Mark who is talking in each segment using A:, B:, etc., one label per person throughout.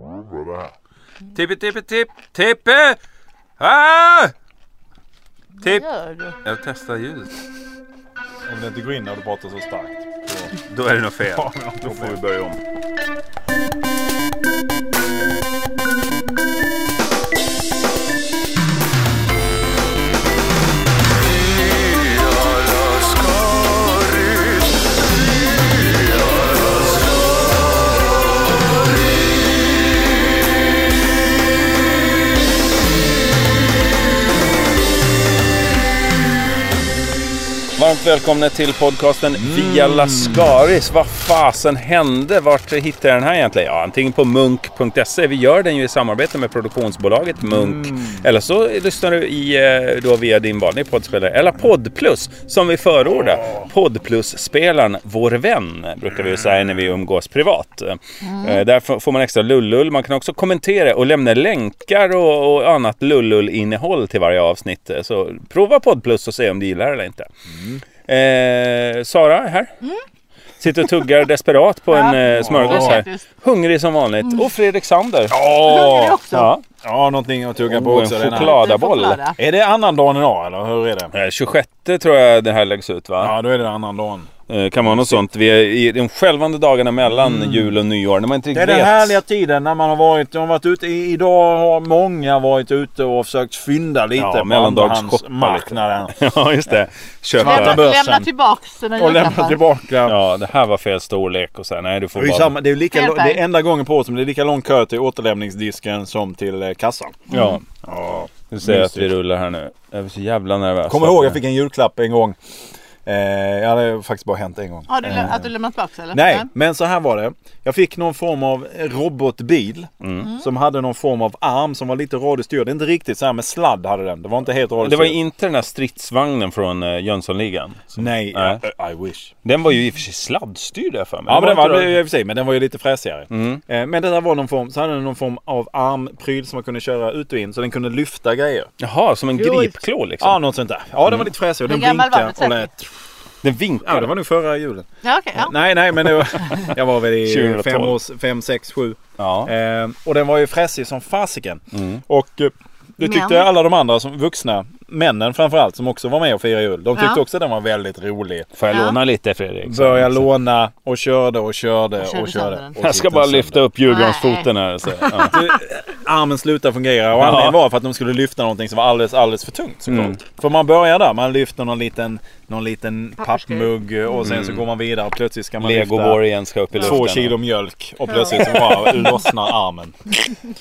A: på det här.
B: Tippi, tippi, tipp, tippi! Ah! Tipp!
C: Gör du?
B: Jag testar ljudet.
D: Om det inte går in när du pratar så starkt.
B: Då är det nog fel.
D: Ja, men
A: Då får vi börja om.
B: Varmt välkomna till podcasten Via Lascaris. Vad fasen hände? Vart hittade jag den här egentligen? Ja, antingen på munk.se. Vi gör den ju i samarbete med produktionsbolaget Munk. Eller så lyssnar du i, eh, då via din vanliga poddspelare. Eller Poddplus som vi förordar. Poddplus-spelaren, vår vän, brukar vi ju säga när vi umgås privat.
C: Mm.
B: Eh, Där får får man extra lullull. Man kan också kommentera och lämna länkar och, och annat lullull-innehåll till varje avsnitt. Eh, Så prova Poddplus och se om du gillar det eller inte.
C: Mm.
B: Eh, Sara är här. Sitter och tuggar desperat på en eh, smörgås
C: Ja,
B: här.
C: faktiskt. Mm.
B: Hungrig som vanligt. Och Fredrik Sander.
D: Ja, Oh,
C: Hungrig också.
B: Ja,
D: ja, någonting att tugga på
B: och en
D: också. den här.
C: choklad.
B: chokladaboll.
C: Choklada.
D: Är det annan dagen idag eller hur är det?
B: Eh, 26 tror jag det här läggs ut va?
D: Ja, då är det annan dagen.
B: Eh, Kan vara något sånt. Vi är i de skälvande dagarna mellan jul och nyår. När man inte
D: Mm. Det är
B: riktigt
D: den härliga
B: vet.
D: tiden när man har varit, man har varit ute. i- Idag har många varit ute och försökt fynda lite
B: Ja,
D: på
B: mellandagshoppa
D: andrahandsmarknaden.
B: Ja, just det.
D: Svarta
B: Köpa.
D: bör- börsen.
C: Lämna tillbaks dina
D: Och lämna
C: julklappar.
D: tillbaka.
B: Ja, det här var fel storlek och så här, nej du får
D: Det är, ju
B: bara...
D: samma, det, är ju lika,
C: Fel
D: lång-
C: färg.
D: det är enda gången på året som det är lika lång kö till återlämningsdisken som till eh, kassan.
B: Ja. Nu ser jag att vi
D: mysigt.
B: rullar här nu. Jag är så jävla nervös.
D: Kommer ihåg jag fick en julklapp en gång. Eh, ja, det har faktiskt bara hänt en gång.
C: Har du, lä- att du lämnat tillbaks eller?
D: Nej, men så här var det. Jag fick någon form av robotbil.
C: Mm.
D: Som hade någon form av arm som var lite radiostyrd. Inte riktigt så här med sladd hade den. Det var inte helt
B: eh, Det
D: radiostyrd.
B: var inte den här stridsvagnen från eh, Jönssonligan.
D: Nej,
B: Nej.
D: I, I wish.
B: Den var ju i och för sig sladdstyrd jag för mig.
D: Ja, men den var,
B: inte-
D: i och för sig, men den var ju lite fräsigare. Eh, Men det där var någon form, så hade den någon form av armpryl som man kunde köra ut och in. Så den kunde lyfta grejer.
B: Jaha, som en
C: Jo,
B: gripklå liksom.
D: Ja, något sånt där. Ja, den var lite fräsig och
C: Hur
D: den
C: gammal var
D: blinkade
C: den
D: och
C: säkert?
D: lät.
B: Den vinkar.
D: Ja, det var nog förra julen.
C: Ja, okej. ja.
D: Nej, nej, men det var, jag var väl i
B: 2012.
D: fem, års, fem sex, sju.
B: Ja.
D: Eh, och den var ju fräsig som fasiken.
B: Mm.
D: Och eh, det tyckte
C: Men.
D: alla de andra som vuxna, männen framförallt, som också var med och firade jul. De tyckte
C: Ja.
D: också den var väldigt rolig.
B: Får jag
C: Ja.
B: låna lite Fredrik?
D: Börja låna och körde och körde och
C: Och
D: körde.
C: körde
D: Och
C: sönder
D: körde
C: den.
B: Jag ska bara lyfta upp julgransfoten här. Så. Ja.
D: Armen slutade fungera och anledningen var för att de skulle lyfta någonting som var alldeles, alldeles för tungt såklart.
B: Mm.
D: För man börjar där, man lyfter någon liten, någon liten
C: Pappersgrej.
D: pappmugg och sen så går man vidare och plötsligt ska man lyfta
B: Legoborgen ska upp Mm. i luften.
D: två kilo mjölk och plötsligt så bara lossnar armen.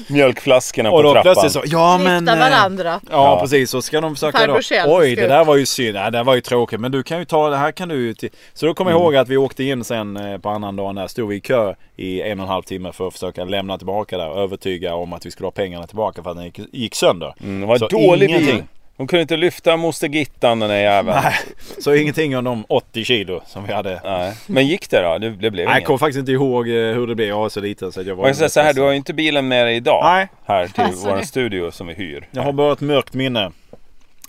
B: Mjölkflaskorna på
D: Och då
B: trappan.
D: plötsligt så, ja men...
C: Lyfta
D: eh,
C: varandra.
D: Ja,
B: Ja.
D: precis, så ska de försöka
C: Farbror
D: då.
C: Kjell
D: Oj
C: ska
D: det
C: upp.
D: där var ju synd, nej, det där var ju tråkigt men du kan ju ta det här kan du ju till... Så då kommer
B: Mm.
D: jag ihåg att vi åkte in sen eh, på annan dagen där, stod vi i kö i en och en halv timme för att försöka lämna tillbaka där och övertyga om att vi skulle ha pengarna tillbaka för att den gick, gick sönder.
B: Mm, det var
D: Så
B: dålig
D: ingenting.
B: bil. Hon kunde inte lyfta moster Gittan den där jäveln.
D: Nej, så ingenting om de 80 kilo som vi hade.
B: Nej. Men gick det då? Det, det blev
D: Nej, jag
B: inget.
D: kommer faktiskt inte ihåg eh, hur det blev, jag var så liten så att jag var...
B: Jag kan säga så här, du har ju inte bilen med dig idag.
D: Nej.
B: Här till
C: Alltså,
B: vår
C: det-
B: studio som vi hyr.
D: Jag har bara ett mörkt minne.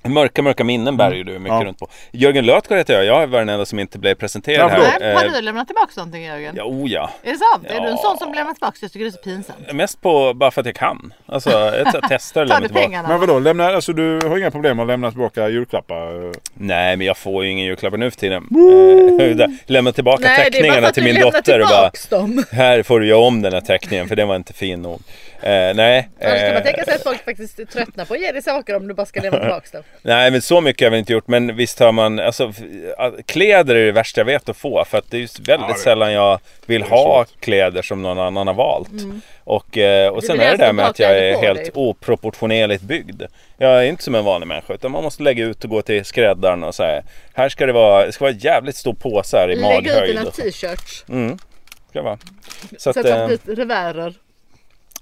B: Mörka, mörka minnen bär ju du mycket
D: Mm. Ja.
B: runt på. Jörgen Lötgård heter jag. Jag var den enda som inte blev presenterad
D: Ja,
B: här.
C: Nej, har
B: Eh,
C: du lämnat tillbaks någonting Jörgen?
B: Ja, oh ja.
C: Är det sant? Är du en
B: Ja.
C: sån som lämnar tillbaks? Jag tycker det är så pinsamt.
B: Mest på bara för att jag kan. Alltså, jag t- testar
C: Tar
B: lämnar
C: du
B: tillbaka.
C: pengarna?
D: Men vadå, lämna, alltså du har inga problem att lämna tillbaka julklappar? eh?
B: Nej, men jag får ju ingen julklappar nu för tiden. Eh, där. Lämna tillbaka teckningarna till min dotter och bara
C: dem.
B: Här får du göra om den här teckningen för den var inte fin nog. Eh, nej,
E: Annars kan man
B: eh,
E: tänka sig att folk faktiskt tröttnar på att ge dig saker om du bara ska lämna tillbaka dem.
B: nej men så mycket har jag väl inte gjort. Men visst har man, alltså f- att- kläder är det värsta jag vet att få. För att det är ju väldigt
D: det-
B: sällan jag vill ha kläder som någon annan har valt. Och, eh, och
E: Mm. Du
B: sen
E: vill
B: är det
E: helst
B: där med
E: inte ha
B: att jag
E: kläder
B: är
E: på
B: helt
E: dig.
B: oproportionerligt byggd. Jag är inte som en vanlig människa utan man måste lägga ut och gå till skräddaren och säga Här ska det vara, det ska vara en jävligt stor påse här i
E: Lägg ut
B: maghöjd.
E: dina
B: och så."
E: t-shirts.
B: Ska det vara. alltså. Mm, Så att,
E: Sätt upp
B: eh,
E: dit revärer.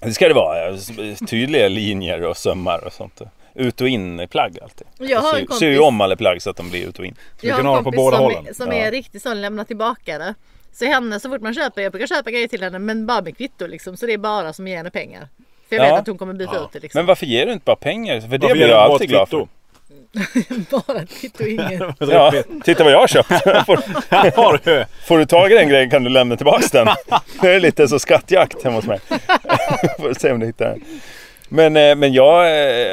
B: det ska det vara. eh, s- Tydliga linjer och sömmar och sånt. Ut och in i plagg alltid.
E: Jag har en
B: Sy-
E: kompis-
B: Syr ju om alla plagg så att de blir ut och in.
E: Jag
D: kan
E: har
D: ha dem på
E: en kompis
D: båda
E: som,
D: hållen.
E: som
D: Ja.
E: är riktigt sån lämna tillbaka det. Så henne så fort man köper, jag brukar köpa grejer till henne men bara med kvitto liksom. Så det är bara som ger henne pengar. För jag
B: Ja.
E: vet att hon kommer byta ut det liksom.
B: Men varför ger du inte bara pengar? För det
D: Varför
B: blir
D: ger
B: jag
D: du
B: alltid glad
D: bara ett kvitto?
B: för.
E: Bara ett kvitto och inget.
B: Ja, titta vad jag har köpt. Får,
D: Har du?
B: får du tag i den grejen kan du lämna tillbaka den. Nu är det lite så skattjakt hemma hos mig. Får se om du hittar den. Men, eh, men jag,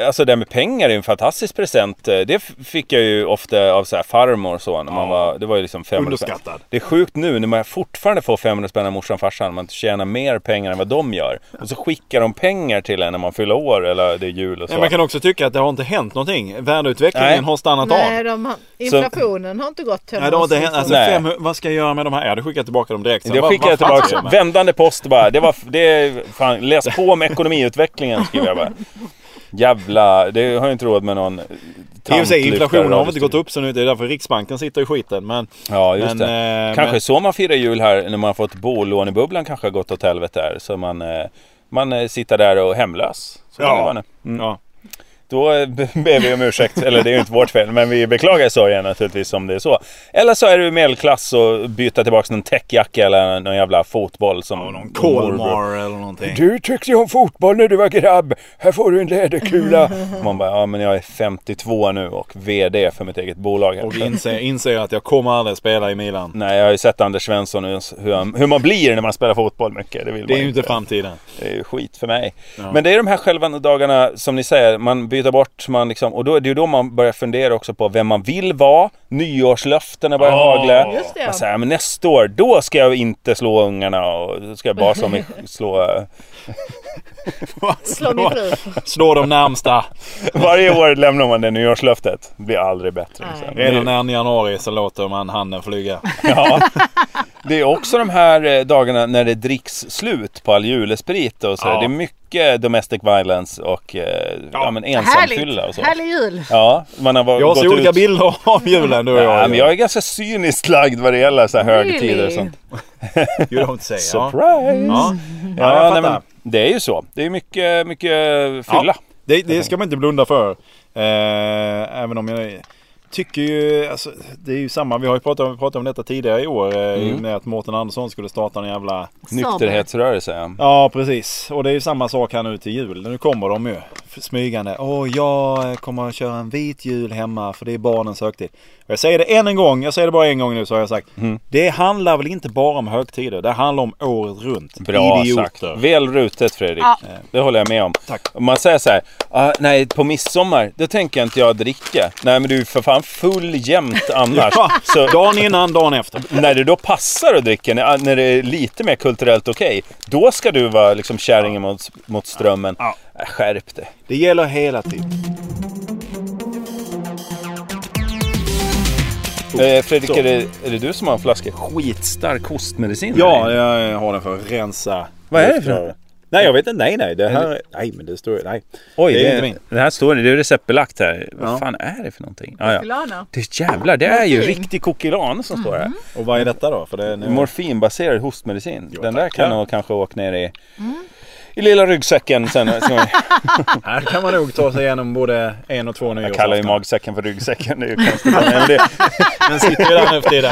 B: eh, alltså det här med pengar är en fantastisk present. Eh, Det f- fick jag ju ofta av så här farmor och så. När man
D: Ja.
B: var, det var ju liksom 500 spänn.
D: Underskattad.
B: Det är sjukt nu när man fortfarande får 500 spänn av morsan och farsan. Man tjänar mer pengar än vad de gör. Och så skickar de pengar till en när man fyller år eller det är jul och så.
D: Men man kan också tycka att det har inte hänt någonting. Värdeutvecklingen
B: Nej.
D: har stannat
E: Nej,
D: av.
E: de har, inflationen har inte gått
D: Nej, det har inte hänt. Alltså,
B: Nej.
D: fem, vad ska jag göra med de här? Jag hade skickat tillbaka dem direkt. sen.
B: Det
D: Vad-
B: skickade jag
D: vad fan ska
B: tillbaka.
D: jag göra
B: Vändande post bara. Det var, det, fan, läs på om ekonomiutvecklingen skriver jag bara. Jävla, det har jag inte råd med någon
D: med? I och för sig,
B: tantlyftare
D: inflationen har väl inte
B: radiostyr.
D: gått upp så nu. Det är därför Riksbanken sitter i skiten. Men,
B: Ja, just
D: men,
B: det.
D: eh,
B: Kanske så man firar jul här när man har fått bolånebubblan kanske har gått åt helvete där. Så man, eh, man eh, sitter där och är hemlös. Så kan
D: Ja.
B: det vara nu.
D: Men,
B: Mm.
D: ja.
B: Då eh, ber vi om ursäkt, eller det är ju inte vårt fel, men vi beklagar sorgen naturligtvis om det är så. Eller så är du medelklass och byter tillbaka någon täckjacka eller någon jävla fotboll som...
D: Och någon
B: morbror.
D: Kolmar eller någonting.
B: Du tyckte ju om fotboll när du var grabb. Här får du en läderkula. Man bara, ja men jag är 52 nu och VD för mitt eget bolag. Här.
D: Och inser, inser att jag kommer aldrig spela i Milan.
B: Nej, jag har ju sett Anders Svensson hur, hur, han, hur man blir när man spelar fotboll mycket. Det, vill
D: Det är
B: man
D: ju inte framtiden.
B: det är ju skit för mig. Men det är de här självande dagarna som ni säger, man byter bort, man liksom, och då, är det är ju då man börjar fundera också på vem man vill vara. Nyårslöftena börjar
D: Ja.
B: hagla.
E: Just det, ja.
B: Man säger, men nästa år, då ska jag inte slå ungarna och då ska jag bara slå mig, slå eh,
E: Slå min fru.
D: Slå de närmsta.
B: Varje år lämnar man det nyårslöftet. Det blir aldrig bättre. liksom.
E: Nej.
B: Sen.
D: Redan den januari så låter man handen flyga.
B: Ja. Det är också de här eh, dagarna när det dricks slut på all julesprit och så.
D: Ja.
B: Det är mycket domestic violence och eh, ja. men ensamfylla och
E: Härligt!
D: alltså.
B: så.
E: Härlig jul!
B: Ja, man har varit,
D: Jag har så
B: gått
D: olika
B: ut.
D: bilder av julen du och jag.
B: Nej, men jag är ganska cyniskt lagd vad det gäller så här
E: Really?
B: högtider och sånt.
D: You don't say. Ja.
B: Surprise!
D: Ja. Ja,
B: Ja,
D: jag
B: nej,
D: fattar.
B: men det är ju så. Det är mycket, mycket fylla.
D: Det, det ska man inte blunda för. Eh, även om jag tycker ju, alltså, det är ju samma. Vi har ju pratat, om- pratat om detta tidigare i år. Eh,
B: Mm.
D: i och Med att Mårten Andersson skulle starta en jävla...
B: Nykterhetsrörelse. ja.
D: Ja, precis. Och det är ju samma sak här nu till jul. Nu kommer de ju f- smygande. Åh, jag eh, kommer att köra en vit jul hemma för det är barnens högtid. Och jag säger det än en gång, jag säger det bara en gång nu så har jag sagt.
B: Mm.
D: Det handlar väl inte bara om högtider, det handlar om året runt.
B: Bra
D: Idioter.
B: sagt. Väl rutet Fredrik. Eh,
C: Ja.
B: Det håller jag med om.
D: Tack.
B: Om man säger så här, ah, nej på midsommar, då tänker jag inte jag dricka. Nej men du är ju för fan full jämt annars.
D: Ja,
B: Så
D: dagen innan, dagen efter.
B: när det då passar att dricka, när, när det är lite mer kulturellt okej, då ska du vara liksom kärringen mot, mot strömmen.
D: Ja.
B: Äh, Skärp dig.
D: Det gäller hela tiden.
B: Eh, Fredrik,
D: så.
B: är det, är det du som har en flaska eh, skitstark hostmedicin?
D: Ja,
B: eller?
D: jag har den för att rensa.
B: Vad är det för något?
D: Nej, jag vet inte. Nej, nej. Det här... Nej, men det står Nej.
B: Oj,
D: det är
B: det,
D: inte min.
B: det här står det. Det är receptbelagt här. Vad
D: Ja.
B: fan är det för någonting? Ah, ja.
C: Lana.
B: Det jävlar, det är ju
C: Morfin.
B: riktig kokilan som står här.
D: Och vad är detta då? För det är
B: Mm. Morfinbaserad hostmedicin.
D: Jo,
B: den där
D: tack.
B: kan
D: Ja.
B: nog kanske åka ner i,
E: Mm.
B: i lilla ryggsäcken sen.
D: Här kan man nog ta sig igenom både en och två
B: jag kallar ju
D: nyårsaftnar.
B: magsäcken för ryggsäcken. Det är ju konstigt. Nej, Men det
D: Den sitter ju där nu för tiden.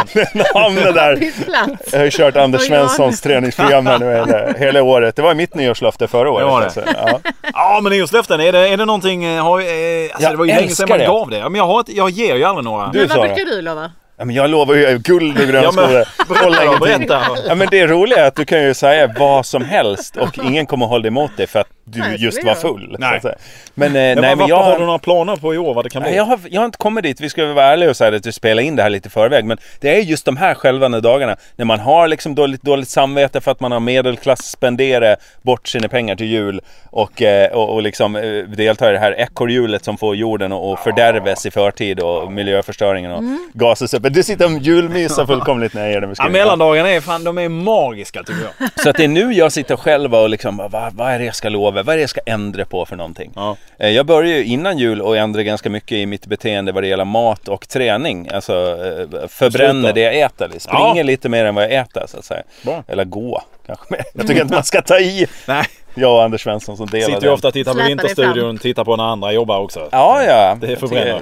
B: hamnar där.
E: Byt plats!
B: Jag har ju kört Anders
E: Oj, ja.
B: Svenssons träningsprogram här nu hela, hela året. Det var mitt nyårslöfte förra året.
D: Det var det.
B: alltså. Ja.
D: Ja, men nyårslöften. Är det, är det någonting... eh, Har, eh, alltså,
B: Jag
D: det var ju länge sedan
B: älskar
D: man
B: det.
D: gav det. Ja, men jag, har, ett- jag ger ju aldrig några.
B: Du
E: Men vad
B: Sara?
E: brukar du lova?
B: Ja, men jag lovar ju jag är guld och gröna
D: Ja, men-
B: skogar. Hålla
D: Ja,
B: ingenting.
D: berätta.
B: Ja, men det roliga är att du kan ju säga vad som helst och ingen kommer hålla emot dig för att
E: Nej,
B: du
E: det
B: just
E: skulle
B: var
E: jag.
B: full. Så
D: Nej.
B: att säga. Men, eh, nej,
D: Men,
B: men
D: varför
B: jag
D: har du några planer på i år? Vad det kan
B: Nej,
D: bli?
B: Jag har, jag har inte kommit dit. Vi ska vara ärliga och säga att vi spelar in det här lite i förväg. Men det är just de här skälvande dagarna när man har liksom dåligt, dåligt samvete för att man har medelklass spendera bort sina pengar till jul och, eh, och, och liksom eh, deltar i det här ekorrhjulet som får jorden att att fördärves i förtid och miljöförstöringen och gases upp. Du sitter och julmyser fullkomligt när jag ger dig
D: Mm. Ja,
B: beskrivningen.
D: mellandagarna är fan, de är magiska tycker jag.
B: Så att det är nu jag sitter själv och liksom, bara, vad, vad är det jag ska lova? Vad är det jag ska ändra på för någonting?
D: Ja.
B: Eh, Jag började ju innan jul och ändra ganska mycket i mitt beteende vad det gäller mat och träning. Alltså eh, förbränner
D: Sluta.
B: det jag äter, liksom. springer
D: Ja.
B: lite mer än vad jag äter så att säga.
D: Bra. Mm.
B: Eller gå kanske mer. Jag tycker inte man ska ta i,
D: Nej.
B: jag och Anders Svensson som delar
D: Sitter ju
B: den.
D: ofta och tittar på
E: Släpar dig
D: Vinterstudion, tittar på när andra jobbar också.
B: Ja, ja.
D: Det är förbränner.
B: Jag,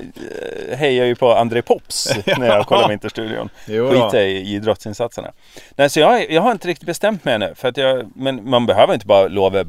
B: eh, hejar ju på André Pops när jag kollar Vinterstudion.
D: Jo då.
B: Skiter i idrottsinsatserna. Nej, så jag, jag har inte riktigt bestämt mig ännu. För att jag, men man behöver inte bara lova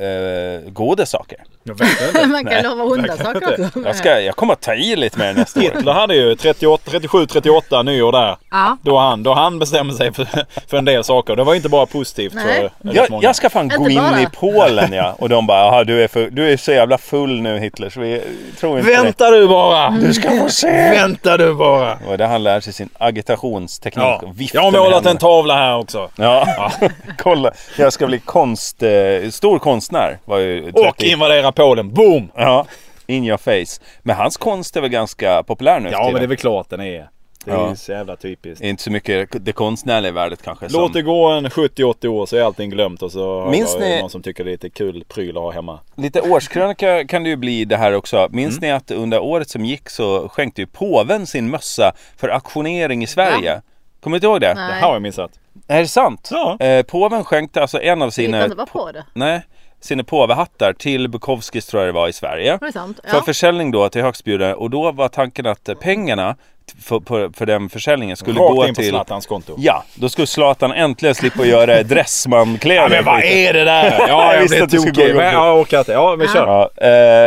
B: eh, goda saker.
D: Jag vet inte.
E: Man kan lova onda saker
D: inte.
E: också.
B: Jag, ska, jag kommer att ta i lite mer nästa år.
D: Hitler hade ju 38, 37, 38 nyår där.
E: Ja.
D: Då han, då han bestämde sig för, för en del saker. Det var inte bara positivt
E: Nej.
D: för rätt
B: Jag,
D: många.
B: jag ska fan
E: Inte
B: gå in
E: bara.
B: i Polen ja. Och de bara, "Jaha, du är, för, du är så jävla full nu Hitler så vi tror inte på dig."
D: Vänta du bara!
E: Mm.
B: Du ska få se!
D: Vänta du bara!
B: Det var där han lär sig sin agitationsteknik.
D: Ja.
B: och vifta
D: Jag har
B: med
D: målat
B: händerna.
D: en tavla här också.
B: Ja, kolla. Jag ska bli konst, eh, stor konstnär. Var ju 30.
D: Och invadera Polen. Boom!
B: Ja, in your face. Men hans konst är väl ganska populär nu för
D: Ja men det är
B: tiden.
D: väl klart den är. Det är
B: Ja.
D: ju så jävla typiskt.
B: Det är inte så mycket det konstnärliga värdet kanske.
D: Låt det
B: som,
D: gå en 70-80 år så är allting glömt och så har
B: Minns
D: jag
B: ni-
D: någon som tycker det är lite kul pryl att ha hemma.
B: lite årskrönika kan det ju bli det här också. Minns
E: Mm.
B: ni att under året som gick så skänkte ju påven sin mössa för auktionering i Sverige? Kommer du inte ihåg det?
D: Det
E: Nej.
D: här har jag missat.
B: Är det sant?
D: Ja.
B: Eh, påven skänkte alltså en av
E: Jag
B: sina...
E: kan inte vara på det.
B: Nej, sina påvehattar till Bukowskis tror jag det var i Sverige.
E: Var det sant? Ja.
B: För försäljning då till högstbjudare och då var tanken att eh, pengarna t- för, på, för den försäljningen skulle
D: Rakt
B: gå
D: in på
B: till...
D: Zlatans konto.
B: Ja, då skulle Zlatan äntligen slippa göra Dressmann-kläder.
D: är det där? Ja,
B: Jag
D: jag
B: visste
D: blev
B: att du skulle
D: tokig.
B: gå igång.
D: Men Jag orkar inte. Ja, men kör.
B: Ja,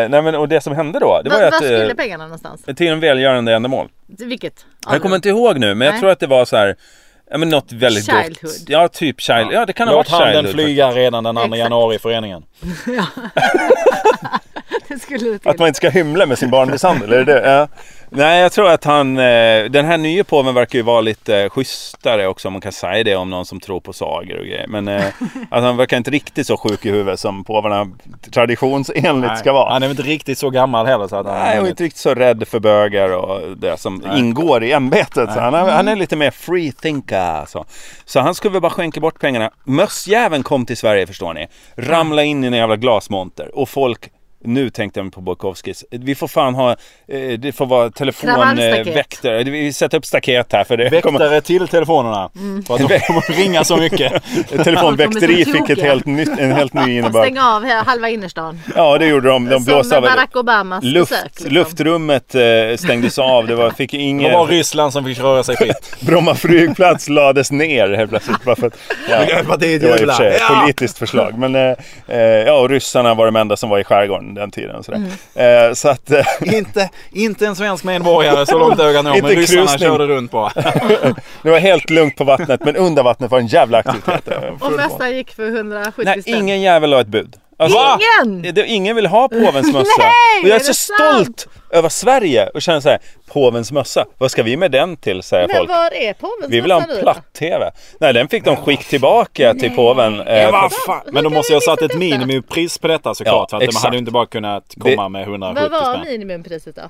B: eh, nej men och det som hände då, det var
E: Var,
B: ju
E: var
B: att...
E: skulle
B: Eh,
E: pengarna någonstans?
B: till en välgörande ändamål.
E: Vilket?
B: Jag kommer inte ihåg nu, men jag
E: Nej.
B: tror att det var så här... Ja men något väldigt gott.
E: Childhood.
B: Ja, typ child. Ja, det kan ha
D: Låt
B: varit
D: handen
B: childhood.
D: flyga redan den 2
E: Exakt.
D: januari i föreningen.
E: Det skulle det till.
B: Att man inte ska hymla med sin barnmisshandel, är det det? Ja. Nej, jag tror att han, eh, den här nya påven verkar ju vara lite eh, schysstare också om man kan säga det om någon som tror på sagor och grejer. Men eh, att han verkar inte riktigt så sjuk i huvudet som påvarna traditionsenligt ska vara.
D: Han är väl inte riktigt så gammal heller så att han
B: Nej, och inte riktigt så rädd för bögar och det som ingår i ämbetet. Så han, är,
E: Mm.
B: han är lite mer free thinker. Så. så han skulle väl bara skänka bort pengarna. Mössjäveln kom till Sverige förstår ni. Ramla in i en jävla glasmonter och folk nu tänkte jag på Bukowskis. Vi får fan ha, eh, det får vara
E: Kravallstaket.
B: telefonväktare. Vi sätter upp staket här för det kommer,
D: Väktare till telefonerna. För att de kommer ringa så mycket.
B: telefonväkteri
E: Folk kommer som
B: fick ett
E: tokiga.
B: helt nytt, en helt ny
E: De
B: innebörd.
E: stänger av he- halva innerstan.
B: Ja, det gjorde de. De blåste av.
E: Som Barack Obamas besök.
B: Luft,
E: liksom.
B: luftrummet eh, stängdes av. Det var, fick
D: Det
B: ingen...
D: var Ryssland som fick röra sig fritt.
B: Bromma flygplats lades ner helt plötsligt. Bara för att, ja,
D: Miljöpartiet
B: det var i och för
D: jublar.
B: sig ett
D: Ja!
B: politiskt förslag. Men eh, eh, ja, och ryssarna var de enda som var i skärgården den tiden. och Sådär.
E: Mm.
B: Eh, så att, eh,
D: Inte, inte en svensk medborgare så långt ögat når. Men
B: Inte
D: ryssarna
B: krusning.
D: körde runt bara.
B: det var helt lugnt på vattnet men under vattnet var en jävla aktivitet.
E: Och mössan gick för 170
B: Nej,
E: spänn.
B: ingen jävel la ett bud. Alltså,
D: Va?
E: Ingen!
B: Det- det- Ingen vill ha påvens mössa.
E: Nej,
B: och jag är,
E: är
B: så
E: det
B: stolt över Sverige och känner så här, påvens mössa, vad ska vi med den till säger
E: Men
B: folk.
E: var är påvens
B: Vi vill ha en
E: mössa nu då?
B: platt-tv. Nej, den fick de skick tillbaka till påven. eh,
D: Men
B: för-
D: vad fan.
E: Hur
D: Men då
E: kan
D: måste
E: vi
D: jag ha satt
E: missa
D: ett
E: detta?
D: minimipris på detta såklart. för att man
B: exakt.
D: hade ju inte bara kunnat komma med
E: Vad
D: 170
E: var
D: spänn.
E: minimumpriset då?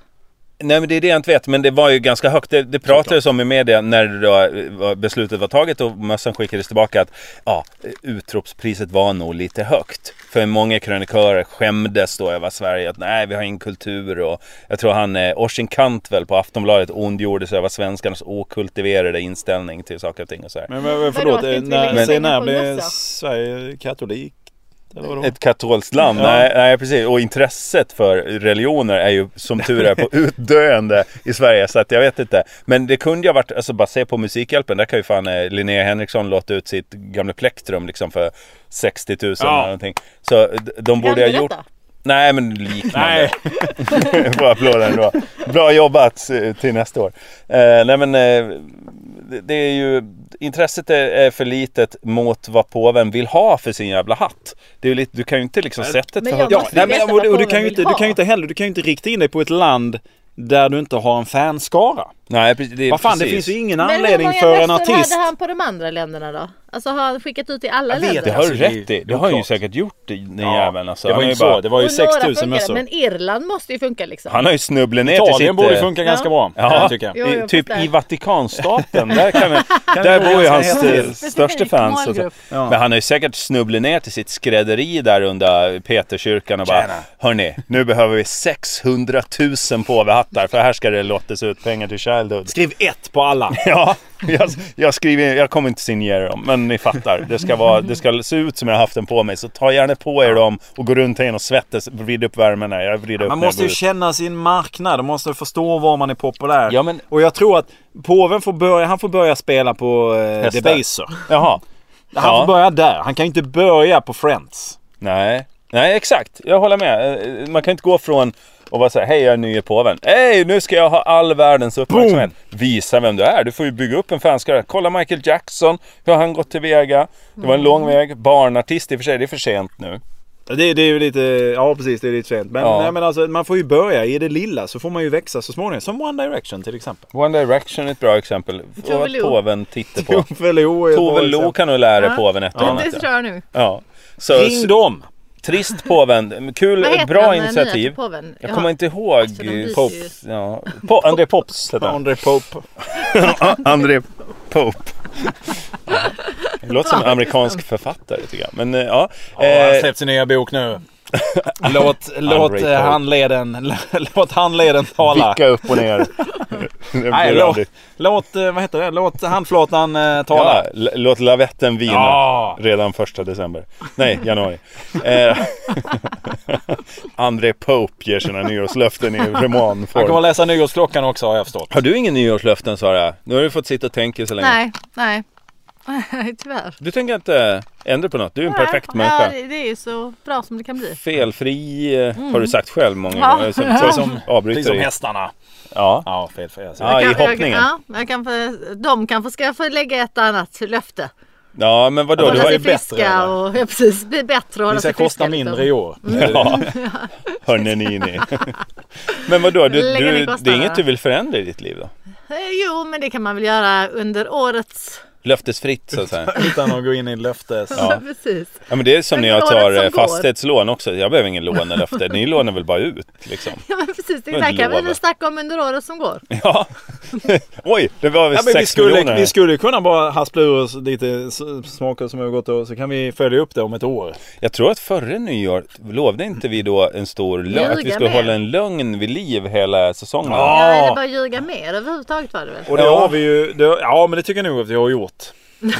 B: Nej men det är det jag inte vet, men det var ju ganska högt. Det, det pratades om i media när det då eh, var- beslutet var taget och mössan skickades tillbaka att ja, utropspriset var nog lite högt. För många krönikörer skämdes då över Sverige att nej, vi har ingen kultur och jag tror han eh, Orsin Cantwell på Aftonbladet ondgjorde sig över svenskarnas okultiverade inställning till saker och ting och så här.
D: Men, men, men
E: Vadå,
D: förlåt,
E: ska inte
D: eh,
E: vi
D: när,
E: lägga
D: säg
E: pengar
D: när
E: på
D: blev
E: mössa?
D: Sverige katolik? Eller vadå?
B: Ett katolskt land,
D: Ja.
B: nej, nej precis. Och intresset för religioner är ju som tur är på utdöende i Sverige. Så att jag vet inte. Men det kunde ju ha varit, alltså bara se på Musikhjälpen, där kan ju fan eh, Linnea Henriksson låta ut sitt gamla plektrum liksom för 60 000
D: Ja.
B: eller någonting. Så d- de borde
E: Gamla
B: ha gjort...
E: detta?
B: Nej men liknande.
D: Nej,
B: Får applåder ändå. Bra jobbat eh, till nästa år. Eh, nej men eh, det- det är ju intresset är, är för litet mot vad påven vill ha för sin jävla hatt. Det är ju lite, du kan ju inte liksom sätta ett
E: Men
B: för
E: jag
B: högt.
D: Ja,
E: måste
D: nej,
E: ju
D: men,
E: veta
D: och,
E: vad
D: du- och du
E: påven
D: kan ju
E: vill
D: inte, du kan ju
E: ha.
D: inte heller, du kan ju inte rikta in dig på ett land där du inte har en fanskara.
B: Nej, precis, det, är
D: Vad fan, det
B: precis.
D: finns ju ingen
E: Men hur
D: anledning
E: många
D: för en
E: röster
D: artist.
E: hade han på de andra länderna då? Alltså har han skickat ut till alla
D: Jag vet
E: länder?
B: Det
D: inte.
B: har du
D: Alltså, det är-
B: rätt i.
D: det
B: Det
D: är
B: har han ju
D: klart.
B: säkert gjort den jäveln. Alltså.
D: det
B: Han
D: var
B: har
D: ju
B: ju
D: inte så, det var ju
E: Och några
D: 6000
E: funkar,
D: mössor.
E: Men Irland måste ju funka liksom.
B: Han har ju snubblat ner till sitt...
D: Italien borde
B: eh,
D: funka ganska
E: Ja.
D: bra, kan
B: Ja,
D: jag tycka.
E: Jo,
B: i,
E: jag
B: typ
E: fattar.
B: i Vatikanstaten. Där, kan vi, där bor ju hans
D: ganska
B: eh,
D: helt
B: största
C: specifik
B: fans. Och så.
C: målgrupp.
D: Ja.
B: Men han har ju säkert snubblat ner till sitt skrädderi där under Peterkyrkan och bara
D: Tjena.
B: Hörni, nu behöver vi 600 000 påvehattar för här ska det lottas ut pengar till Childhood.
D: Skriv ett på alla.
B: Ja, jag, jag skriver, jag kommer inte signera dem, men ni fattar. Det ska, vara, det ska se ut som jag har haft den på mig, så ta gärna på er dem och gå runt här inne och svettas, vrid upp värmen här. Jag vrider upp
D: Man
B: när jag
D: måste
B: går
D: ju
B: ut.
D: känna sin marknad och måste förstå var man är populär.
B: Ja, men-
D: Och jag tror att påven får börja, han får börja spela på eh,
B: Hästar.
D: Debaser.
B: Jaha.
D: Han
B: Ja.
D: får börja där. Han kan ju inte börja på Friends.
B: Nej. Nej, exakt. Jag håller med. Eh, Man kan inte gå från och vara såhär, hej jag är nye påven. Hej, nu ska jag ha all världens uppmärksamhet. Visa vem du är. Du får ju bygga upp en fanskara. Kolla Michael Jackson, hur har han gått tillväga? Det var en lång
E: Mm.
B: väg. Barnartist i och för sig, det är för sent nu.
D: Det, det är ju lite, ja precis det är lite sent. Men,
B: Ja.
D: nej, men alltså, man får ju börja i det lilla så får man ju växa så småningom. Som One Direction till exempel.
B: One Direction är ett bra exempel. Och
E: Tove
B: vad
E: Lo.
B: påven tittar på.
D: Tove Lo är ett bra
B: Tove Lo
D: exempel.
B: kan du lära dig
E: Ja.
B: påven ett och
E: Det
B: annat.
E: tror jag nu.
B: Ja. Så,
D: Ring dem!
B: trist påven. Kul,
E: Vad heter den,
B: bra
E: eh, nya
B: initiativ.
E: till påven?
B: Jag
E: Ja.
B: kommer inte ihåg.
E: Alltså, de byter
B: Pope.
E: ju.
B: Ja. Po- André Pops heter han.
D: André Pope.
B: André Pope. Det låter som en amerikansk författare tycker jag. Men eh, ja.
D: Ja, han har
B: Eh,
D: släppt sin nya bok nu. Låt, låt
B: Pope.
D: eh, handleden, låt handleden tala.
B: vicka upp och ner. Det blir
D: Nej, låt,
B: aldrig-
D: låt, eh, vad heter det? Låt handflatan eh,
B: ja,
D: tala.
B: l- låt lavetten vina.
D: Ja.
B: Redan första december. Nej, januari. Eh, André Pope ger sina nyårslöften i
D: Han kommer
B: romanform.
D: läsa Nyårsklockan också har jag förstått.
B: Har du ingen nyårslöften Sara? Nu har du fått sitta och tänka så länge.
E: Nej, nej. Nej, Tyvärr.
B: Du tänker inte ändra på något? Du är en perfekt
E: Nej, ja,
B: människa.
E: det, det är ju så bra som det kan bli.
B: Felfri eh, har du sagt själv många
E: Mm. Ja.
B: gånger. Som, som,
D: Som- Precis
B: avbryter
D: som
B: dig.
D: Liksom hästarna.
B: Ja.
D: Ja, fel fel. Jag säger.
B: Ja, i
E: Jag- jag-
B: hoppningen.
E: Ja, jag kan få, de kanske ska få lägga ett annat löfte.
B: ja, men vadå? Du
E: Hålla
B: har ju
E: sig
D: är bättre,
E: friska
D: eller?
E: och ja, precis, bli bättre och hålla
D: Ni ska
E: sig
D: kosta
E: friska,
D: mindre
E: liksom.
D: i år.
B: Ja, hörni ni, ni. Men vadå, du,
E: Lägga
B: du,
E: ner
B: det är
E: kostnaderna.
B: inget du vill förändra i ditt liv då?
E: Eh, Jo, men det kan man väl göra under årets...
B: Löftesfritt så att säga.
D: Utan att gå in i löftes...
B: Ja.
E: precis.
B: Ja, men det är som när
E: Men
B: jag tar
E: året som
B: eh,
E: går.
B: fastighetslån också. Jag behöver ingen lånelöfte. Ni lånar väl bara ut liksom.
E: Ja, men precis. Det
B: Men
E: där kan vi
B: lova.
E: väl snacka om under året som går.
B: Ja. Oj, det var väl
D: Ja, men vi,
B: 6 miljoner.
D: skulle,
B: här.
D: vi skulle kunna bara haspla ur oss lite s- smaker som har gått och så kan vi följa upp det om ett år.
B: Jag tror att före nyår lovade inte vi då en stor lögn. Att vi
E: Ljuga
B: skulle
E: med.
B: hålla en lögn vid liv hela säsongen.
D: Ja.
E: Ja, eller bara ljuga mer överhuvudtaget var det väl?
D: Och det
B: Ja.
D: har vi ju, det, ja men det tycker jag nog att vi har gjort.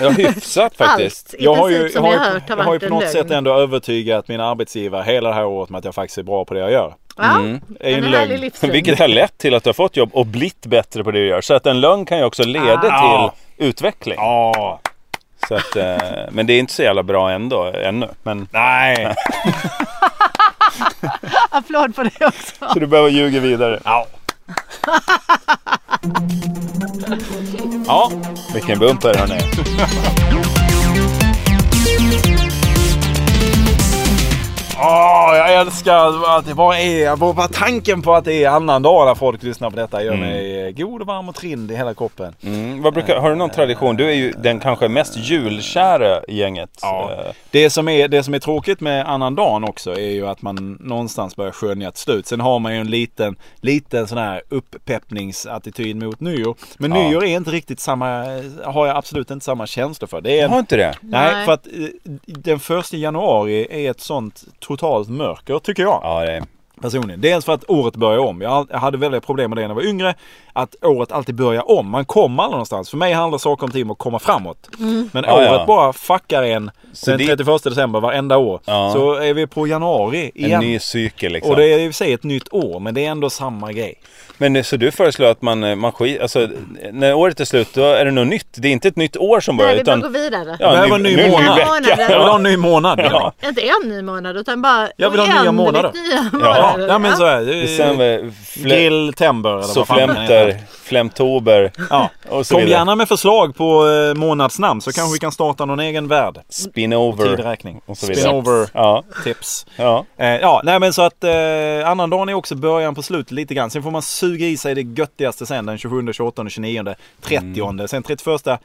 B: Ja, hyfsat faktiskt.
E: Allt i
D: Jag har
E: princip
D: ju, jag
E: som
D: har
E: jag
D: ju,
E: har hört har
D: jag har ju
E: varit
D: på
E: en
D: något
E: lögn.
D: sätt ändå övertygat mina arbetsgivare hela det här året med att jag faktiskt är bra på det jag gör.
E: Ja,
B: Mm,
D: är ju en
E: en
D: lögn.
E: härlig livsstil.
B: Vilket har lett till att du har fått jobb och blivit bättre på det du gör. Så att en lögn kan ju också leda till
D: Ah.
B: utveckling.
D: Ja,
B: Så att, eh, men det är inte så jävla bra ändå, ännu. Men,
D: nej.
E: Applåd på det också.
B: så du behöver ljuga vidare.
D: Ja. ja,
B: Vilken bumper hörni.
D: Åh, jag älskar att det bara är, bara bara tanken på att det är annandag när folk lyssnar på detta gör mig god och varm och trind i hela kroppen.
B: Mm, vad brukar, har du någon tradition? Du är ju den kanske mest julkära i gänget.
D: Ja.
B: Eh,
D: Det som, är, det som är tråkigt med annandagen också är ju att man någonstans börjar skönja ett slut. Sen har man ju en liten, liten sån här upppeppningsattityd mot nyår. Men
B: Ja.
D: nyår är inte riktigt samma, har jag absolut inte samma känsla för. Det är en,
B: Eh, Har inte det?
D: nej,
E: Nej.
D: för att eh, den första januari är ett sånt totalt mörker tycker jag.
B: Ja, det är.
D: personligen. Dels för att året börjar om. Jag all- jag hade väldigt problem med det när jag var yngre. Att året alltid börjar om. Man kommer aldrig någonstans. För mig handlar saker om ting om att komma framåt. Men
B: Ja,
D: året
B: ja.
D: bara fuckar en
B: Så
D: den
B: det-
D: 31 december varenda år.
B: Ja.
D: Så är vi på januari
B: En
D: igen.
B: ny cykel liksom.
D: Och det är i och för sig ett nytt år men det är ändå samma grej.
B: Men så du föreslår att man, eh, man skit, alltså när året är slut då är det något nytt. Det är inte ett nytt år som börjar
E: Nej, vi bara
B: utan...
E: går vidare.
B: Ja,
D: Det här var en
B: ny,
D: ny
B: nu är det
D: månad.
B: en ny vecka.
E: Månader.
D: Jag vill ha en ny månad.
B: Ja.
D: Ja.
E: Inte en ny månad utan bara
D: Jag vill ha nya
E: oändligt
D: månader.
E: nya
D: Ja.
E: månader.
D: ja men så är det.
B: December, fle-
D: Grilltember eller
B: så
D: vad fan den
B: flämter,
D: heter.
B: flämtober.
D: Ja.
B: Och så
D: Kom
B: vidare.
D: gärna med förslag på eh, månadsnamn så kanske vi kan starta någon egen värld.
B: Spinover.
D: Tidräkning.
B: Och så vidare.
D: Spinover.
B: Ja,
D: tips.
B: ja.
D: Eh, ja, nej men så att eh, annandagen är också början på slutet lite grann. Sen får man suga i sig det göttigaste sen den 27, 28, 29, 30.
B: Mm.
D: Sen 31, ja,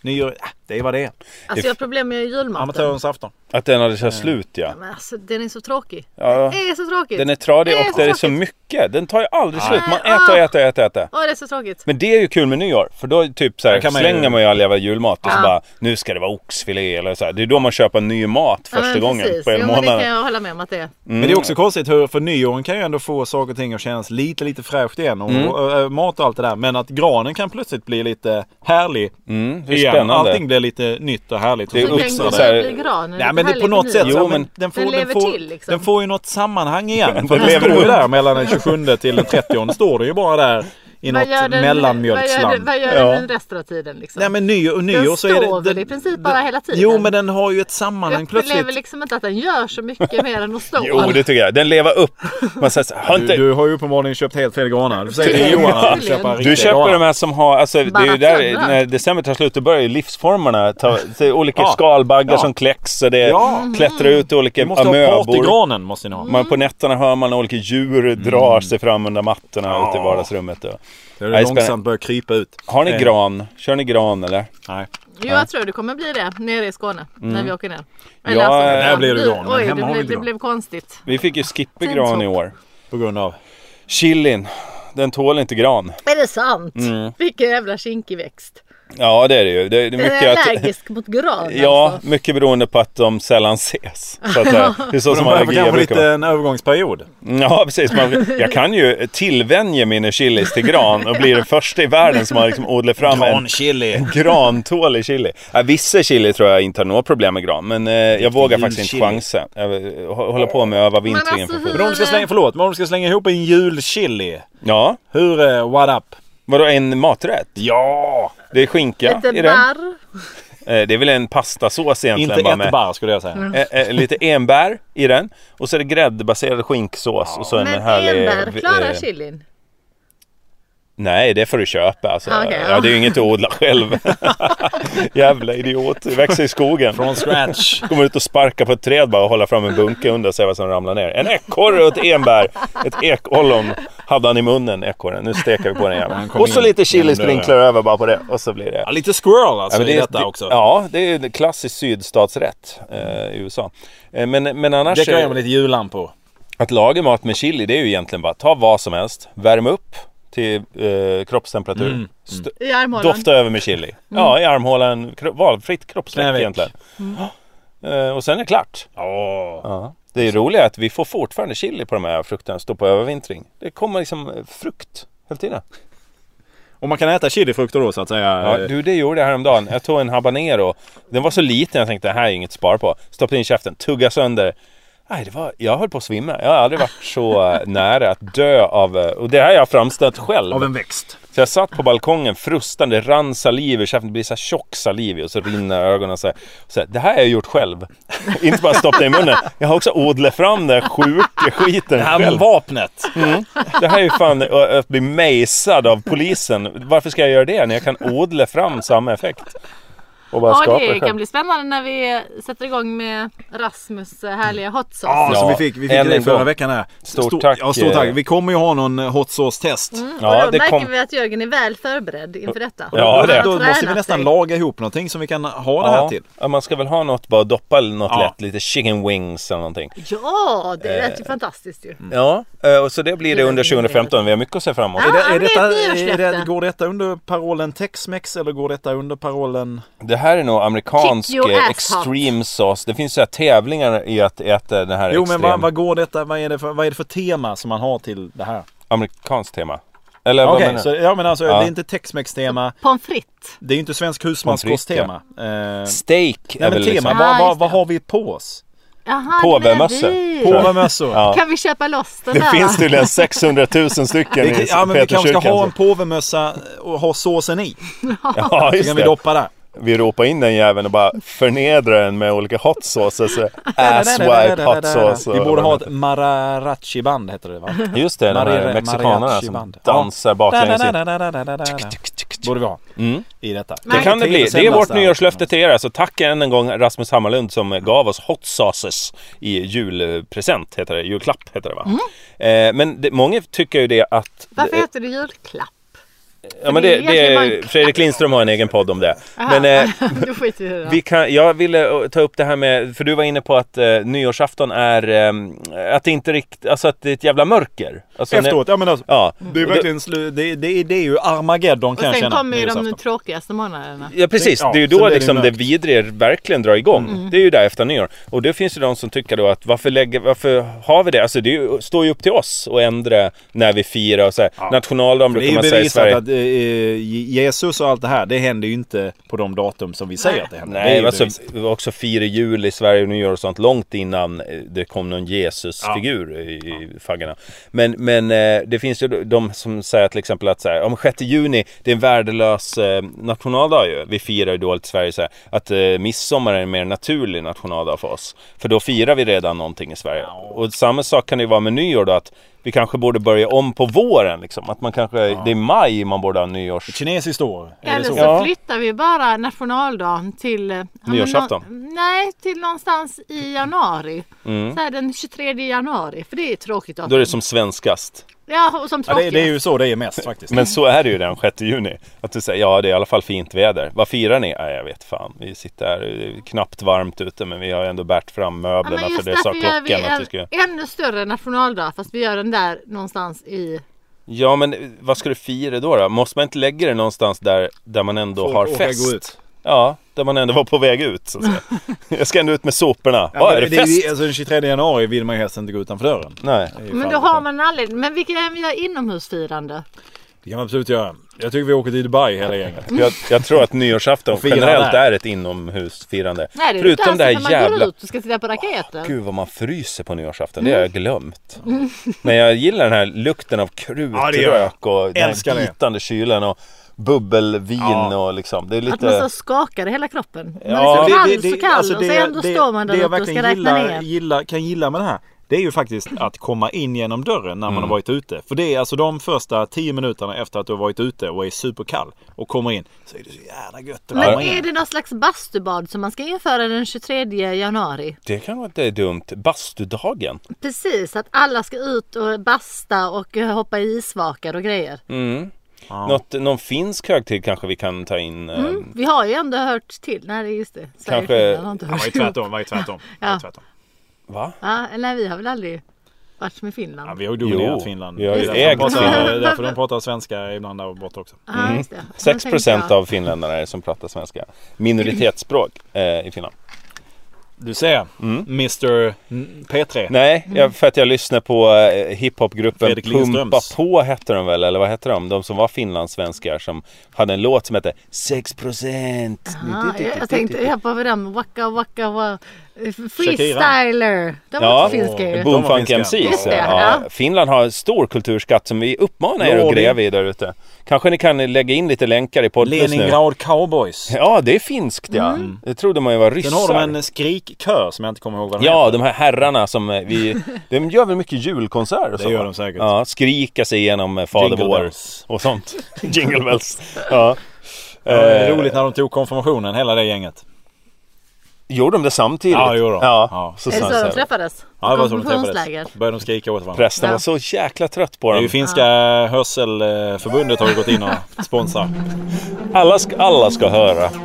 D: nyår, ja, det är vad det är.
E: Alltså jag har problem med julmaten.
D: Amatörens afton.
B: Att den hade
D: Eh.
B: kört slut ja.
E: Men alltså den är så tråkig.
B: ja.
E: Det är så tråkigt.
B: Den är tradig
E: Det är
B: och det är så
E: tråkigt.
B: mycket. Den tar ju aldrig slut. Man
E: Nej,
B: äter och
E: ah.
B: äter och äter, och äter.
E: Ja det är så tråkigt.
B: Men det är ju kul med nyår. För då typ så här,
D: Då kan man ju-
B: slänger man ju all jävla julmat och så
E: Ja.
B: bara nu ska det vara oxfilé eller så här. Det är då man köper ny mat
E: Ja, men
B: första gången
E: Ah, precis.
B: på en
E: jo, Men det kan
B: månad.
E: jag hålla med om att det är.
D: Men det
B: Mm.
D: är också konstigt hur, för nyåren kan ju ändå få saker och ting att kännas lite, lite fräscht igen. Och,
B: Mm.
D: och, eh, mat och allt det där. Men att granen kan plötsligt bli lite härlig.
B: Mm, det är
D: igen.
B: spännande.
D: Allting blir lite nytt och härligt.
B: Det är
D: Och så
E: Så
B: upp-
E: den
D: växer
E: går
B: så här-
E: och blir gran.
D: Nej men det är på något sätt.
B: Jo,
D: så,
B: men-
D: den,
E: Den lever
D: får,
E: till, liksom.
D: den får ju något sammanhang igen. För
B: Den
D: den
B: lever
D: står ju
B: upp.
D: där mellan den 27 till den 30 står det ju bara där i
E: Vad gör
D: något
E: den- Vad gör,
D: mellanmjölksland.
E: du- vad gör
B: Ja.
E: den resten av tiden liksom?
D: Nej men nyår, nyår så är det...
E: står väl i princip bara hela tiden.
D: Jo men den har ju ett
E: jag
D: sammanhang
E: upplever
D: plötsligt.
E: liksom inte att den gör så mycket mer än att stå.
B: Jo, det tycker jag. Den lever upp. Man säger så här, har
D: Du,
B: inte...
D: du har ju uppenbarligen köpt helt fel granar. Du säger till
E: Ja,
D: Johan att
E: tydligen.
D: köpa riktiga
B: Du köper
D: granar.
B: de här som har, alltså det är ju där
E: Barracuda.
B: när december tar slut då börjar ju livsformerna ta, se, olika
D: Ja.
B: skalbaggar
D: Ja.
B: som kläcks och det
D: Ja.
B: klättrar ut olika
D: Ni måste ha Mm.
B: amöbor.
D: partygranen måste ni ha.
B: Man, på nätterna hör man olika djur drar sig fram under mattorna
D: Mm. Ja.
B: ute i vardagsrummet. Då.
D: Det är
B: Nej,
D: långsamt
B: spännande.
D: börjar krypa ut.
B: Har ni
D: Eh,
B: gran? Kör ni gran eller?
D: Nej.
E: Jo, jag tror det kommer bli det nere i Skåne när vi åker ner.
B: Ja,
E: det
B: där
D: blir Mm. det
E: blir-
D: gran, men
E: Oj,
D: hemma
E: det,
D: har vi
E: blev,
D: inte
E: det
D: gran.
E: blev konstigt.
B: Vi fick ju Skippe
E: Fint
B: gran
E: sånt.
B: i år.
D: På grund av?
B: Chilin, den tål inte gran.
E: Är det sant?
B: Mm.
E: Vilken jävla kinkig växt.
B: Ja, det är det ju. Det är det är
E: Den
B: mycket
E: är
B: att-
E: allergisk mot gran
B: Ja,
E: alltså.
B: mycket beroende på att de sällan ses. Så att, säga. det är så
D: De
B: som
D: behöver
B: allergier
D: kanske
B: brukar
D: lite
B: vara.
D: en övergångsperiod.
B: Ja, precis. Man, jag kan ju tillvänja mina chilis till gran och bli den första i världen som har liksom odlat fram en
D: Granchili.
B: grantålig chili. Ja, vissa chili tror jag inte har några problem med gran, men eh, jag vågar faktiskt inte
D: julchili.
B: chansa. Jag eh, hå- håller på med att öva
E: Men
B: vintringen
E: alltså,
B: för fullt.
D: Men om du ska slänga, förlåt, men om du ska slänga ihop en julchili.
B: Ja,
D: Hur, eh, what up?
B: vadå en maträtt?
D: Ja!
B: Det är skinka i
E: Lite
B: den.
E: barr.
B: Eh, Det är väl en pastasås egentligen.
D: Inte
B: bara
D: ett
B: med-
D: bar skulle jag säga.
B: Eh, eh, lite enbär i den. Och så är det gräddbaserad skinksås. Och så en
E: Men
B: härlig...
E: enbär klarar
B: eh,
E: chilin.
B: Nej, det får du köpa. Alltså.
E: Ah, okej,
B: ja,
E: ja.
B: det är ju inget att odla själv. Jävla idiot. Det Växer i skogen.
D: Från scratch.
B: Kommer ut och sparkar på ett träd bara och håller fram en bunke under och ser vad som ramlar ner. En ekorre och ett enbär. Ett ekollon hade han i munnen, ekorren. Nu stekar vi på den jäveln.
D: Han kom
B: Och så
D: in
B: lite
D: genom
B: chilisprinklar över bara på det. Och så blir det...
D: Ja, lite squirrel
B: Ja,
D: alltså
B: men
D: i
B: det-
D: detta
B: det-
D: också.
B: Ja, det är ju klassisk sydstatsrätt eh, i USA. Eh, men, men annars...
D: Dekorera med lite jullampor.
B: Att laga mat med chili det är ju egentligen bara ta vad som helst, värm upp till eh, kroppstemperatur,
D: Mm,
B: st-
E: I armhålan.
B: dofta över med chili. Ja, i armhålan, kro- valfritt kroppsläck
D: Knäveck.
B: egentligen. Eh, och sen är det klart.
D: Åh.
B: Det är roliga är att vi får fortfarande chili på de här frukterna, står på övervintring. Det kommer liksom eh, frukt hela tiden.
D: Och man kan äta chilifrukter då så att säga. eh,
B: Ja, du, det gjorde jag häromdagen. Jag tog en habanero. Den var så liten, jag tänkte det här är inget spar på. Stoppade in i käften, tugga sönder. Nej, det var, jag höll på att svimma. Jag har aldrig varit så eh, nära att dö av... eh, Och det här har jag framställt själv.
D: Av en växt.
B: Så jag satt på balkongen frustande, rann saliv ur käften. Det blir så här tjock saliv i och så rinner ögonen så här. Så här, det här har jag gjort själv. Inte bara stoppa det i munnen. Jag har också odlat fram den här sjuka skiten
D: Det här
B: själv.
D: vapnet.
B: Mm. Det här är ju fan att- att bli mejsad av polisen. Varför ska jag göra det när jag kan odla fram samma effekt? Och bara
E: Ja,
B: skapa
E: det
B: det
E: kan
B: själv.
E: bli spännande när vi sätter igång med Rasmus eh, härliga hot sauce.
D: Ja,
B: Ja,
D: som vi fick, vi fick
B: än en
D: det förra
B: gång.
D: veckan här.
B: Stort tack,
D: Ja, stort tack.
B: eh.
D: Vi kommer ju ha någon hot sauce-test.
B: Ja,
E: och då
B: det
E: märker
B: kom-
E: vi att Jörgen är väl förberedd inför detta.
B: Ja,
E: Han
B: det.
E: har
D: Då måste vi
E: tränat
D: nästan
E: sig.
D: laga ihop någonting som vi kan ha det här
B: Ja,
D: till.
B: ja, man ska väl ha något, bara doppa något
D: Ja.
B: lätt, lite chicken wings eller någonting.
E: Ja, det
B: Eh,
E: lät ju fantastiskt ju.
B: Ja, eh, och så det blir det
E: Gillar
B: under
E: vi det.
B: 2015. Vi har mycket att se fram emot.
E: Ja.
D: Är det, är
E: men det är
D: detta,
E: ett
D: är det,
E: nyårslöfte.
D: går detta under parollen Tex-Mex eller går detta under parollen...
B: Det här är nog amerikansk
E: Kick your
B: eh,
E: ass
B: extreme sauce. Det finns så här tävlingar i att äta den här
D: Jo men
B: extrem...
D: vad, vad går detta, vad är, det för, vad är det för tema som man har till det här?
B: Amerikanskt tema. Eller vad
D: Okej,
B: menar
D: så
B: du?
D: ja, men alltså
B: Ja.
D: det är inte Tex-Mex tema,
E: Pommes frites.
D: det är inte svensk husmanskost
B: Pommes
D: tema. Eh,
B: Steak är väl
D: nej men tema,
B: liksom...
E: Ja,
D: vad, vad,
E: just
D: vad
E: det.
D: har vi på oss?
E: Jaha,
B: Påvemössor.
E: det menar vi.
B: På-
D: Påvemössor.
B: Ja.
E: Kan vi köpa loss den
B: Det
E: där?
B: finns tydligen 600 000 stycken i
D: Vi, ja men vi kanske
B: Peterskyrkan.
D: ska ha en påvemössa och ha såsen i.
B: Ja,
D: Så
B: just
D: kan vi
B: det.
D: doppa där.
B: vi ropar in den jäveln och bara förnedrar den med olika hot sauces. Så Asswipe hot sauce.
D: Vi borde ha ett mariachi-band heter det va?
B: Just det, de här
D: Maria-
B: mexikanerna som
D: mariachi-band.
B: dansar baklänges. i.
D: Borde vi ha i detta.
B: Mm. Det kan det bli.
D: Till
B: Det är vårt
D: senaste.
B: nyårslöfte till er. Alltså, tack än en gång Rasmus Hammarlund som gav oss hot sauces i julpresent, heter det. julklapp heter det va? Eh, men det, många tycker ju det att...
E: Mhm. Varför heter det julklapp?
B: ja, men det,
E: det är
B: det,
E: egentligen bara en klapp?
B: Fredrik Lindström har en egen podd om det.
E: Aha,
B: Men eh,
E: då skiter vi i det.
B: Vi kan, jag ville eh, ta upp det här med, för du var inne på att eh, nyårsafton är, eh, att det inte riktigt, alltså att det är ett jävla mörker. Alltså, när-
D: Efteråt, ja men alltså.
B: Ja.
D: Det är verkligen slu- det, det, är- det är ju Armageddon
E: Och
D: kan jag
E: sen
D: känna.
E: kommer ju de
D: nyårsafton.
E: tråkigaste månaderna.
B: Ja precis,
D: Ja,
B: det är ju
D: så
B: då
D: blir det
B: liksom det
D: mörkt.
B: vidriga verkligen drar igång. Det är ju där efter nyår. Och det finns ju de som tycker då att varför, lägger, varför har vi det? Alltså det är ju, står ju upp till oss att ändra när vi firar och så här. Nationaldagen
D: Det
B: brukar
D: är ju
B: man säga i
D: bevisat
B: Sverige.
D: att eh, eh, Jesus och allt det här, det händer ju inte på de datum som vi säger att det händer. det är
B: Nej,
D: ju
B: alltså,
D: bevis.
B: vi var också firar jul i Sverige och New York och sånt långt innan eh, det kom någon Jesusfigur i, i faggorna. Men, men eh, det finns ju de som säger till exempel att så här, om 6 juni, det är en värdelös eh, nationaldag ju. Vi firar ju då i Sverige så här, att eh, midsommar är en mer naturlig nationaldag för oss. För då firar vi redan någonting i Sverige. Och samma sak kan det ju vara med nyår då, att vi kanske borde börja om på våren liksom. Att man kanske, det är maj man borde ha nyårs...
D: Kinesiskt år. Är det
E: Eller så,
D: så?
B: Ja.
E: flyttar vi bara nationaldagen till... eh, ja, men
B: Nyårsafton.
E: nå- nej, till någonstans i januari. Så här den 23 januari. För det är ett tråkigt datum.
B: Då är det som svenskast.
E: Ja, och som
D: Ja, det,
E: tråkigast.
D: det är ju så det är mest faktiskt.
E: Mm.
B: Men så är det ju den 6 juni. Att du säger, ja det är i alla fall fint väder. Vad firar ni? Nej, jag vet fan. Vi sitter här, det är knappt varmt ute men vi har ändå bärt fram
E: Ja,
B: möblerna
E: men just
B: för alltså, det sa
E: därför gör vi
B: klockan att vi
E: en
B: skulle...
E: ännu större nationaldag. Fast vi gör den där någonstans i...
B: Ja men eh, vad ska du fira då? då? Måste man inte lägga det någonstans där, där man ändå
D: Folk
B: har
D: orkar
B: fest?
D: gå ut.
B: Ja, där man ändå var på väg ut. Så att säga. jag ska ändå ut med soporna. Ja, är det,
D: är
B: fest?
D: ju- alltså den 23 januari vill man ju helst inte gå utanför dörren.
B: Nej.
D: Det är ju
E: Men
D: fan lite-
E: då har man en anledning. Men vi kan göra inomhusfirande.
D: Det kan man absolut göra. Jag tycker vi åker till Dubai hela gänget.
B: Jag, jag tror att nyårsafton
D: Och fira
B: generellt
D: där.
B: är ett inomhusfirande.
E: Nej, det är
B: Förutom
E: Förutom
B: det
E: det
B: här
E: man går
B: jävla
E: ut och ska titta på raketer.
B: Gud vad man fryser på nyårsafton,
D: Mm.
B: det har jag glömt. Men jag gillar den här lukten av
D: Ja, det gör jag.
B: krutrök och den
D: Älskar
B: här
D: det.
B: bitande kylen och bubbelvin
D: Ja.
B: och liksom. Det är
E: Att man
B: lite...
E: så skakar i hela kroppen. Man
B: Ja,
E: är så kall,
D: det- det-
E: Liksom, så kall
D: alltså
E: och så
D: det-
E: ändå
D: det-
E: står man där
D: det jag
E: uppe och ska
D: verkligen
E: räkna
D: gillar,
E: ner.
D: gillar, kan gilla med det här. Det är ju faktiskt att komma in genom dörren
B: Mm.
D: när man har varit ute. För det är alltså de första 10 minuterna efter att du har varit ute och är superkall och kommer in. Så är det så jävla gött att
E: Men
D: komma
E: är
D: in.
E: det någon slags bastubad som man ska införa den 23 januari?
B: Det kan vara att det är dumt. Bastudagen.
E: Precis, att alla ska ut och basta och eh, hoppa i isvakar och grejer.
B: Något, någon finsk högtid kanske vi kan ta in. eh,
D: Mm.
E: Vi har ju ändå hört till. Nej, det är just det. Sverige och
B: Kanske-
E: Finland har inte
D: Vad är
E: hört ihop.
D: tvärtom? Vad är tvärtom? Vad är
E: Ja.
D: tvärtom?
B: Va?
E: Ja, nej, vi har väl aldrig varit med
D: Ja,
E: Finland.
D: vi har ju dominerat
B: Jo,
D: Finland.
B: vi har ju
D: Det är
B: ägt
D: därför de pratar-
E: Finland.
D: därför de pratar svenska ibland där borta också.
E: Ja, just det. Ja, då
B: 6
E: tänkte jag.
B: av finländarna är som pratar svenska. Minoritetsspråk eh, i Finland.
D: Du ser, Mr N- P3.
B: Nej,
E: Mm.
B: jag, för att jag lyssnar på eh, hiphopgruppen
D: Fredrik Lindströms.
B: Pumpa på hette de väl, eller vad hette de? De som var finlandssvenskar som hade en låt som hette 6%
E: Ja, jag, jag tänkte, jag bara med den, waka waka waka. Freestyler. De var
B: Ja,
E: inte finska ju.
D: bo-
B: Boomfunk
D: De var
B: MC.
D: finska.
E: Just
B: Ja.
E: det,
B: Ja.
E: ja.
B: Finland har en stor kulturskatt som vi uppmanar er att
D: Lordi.
B: gräva i där ute. Kanske ni kan lägga in lite länkar i Podplus nu.
D: Leningrad Cowboys.
B: Ja, det är finskt ja.
E: Mm.
B: Det trodde man ju var ryssar.
D: Sen har de en skrikkör som jag inte kommer ihåg vad den
B: Ja, de här herrarna som eh, vi... De gör väl mycket julkonserter? och
D: Det
B: så,
D: gör
B: va?
D: de säkert.
B: Ja, skrika sig igenom eh, Fader
D: Jingle
B: vår
D: bells.
B: och sånt. Jingle bells. Ja.
D: Ja, det är
B: Eh,
D: roligt när de tog konfirmationen, hela det gänget.
B: Gjorde de det samtidigt?
D: Ja, gjorde de.
B: Ja,
D: Ja.
B: Så
E: Är det
B: sant
E: så
B: är
E: de
B: det.
E: träffades?
D: Ja, det var så de
E: Konfirmationsläger.
D: träffades. Började de skrika åt varandra.
B: Prästen
E: Ja.
B: var så jäkla trött på
D: Det är
B: dem.
D: ju finska hörselförbundet har ju gått in och sponsrar.
B: Alla ska, alla ska höra.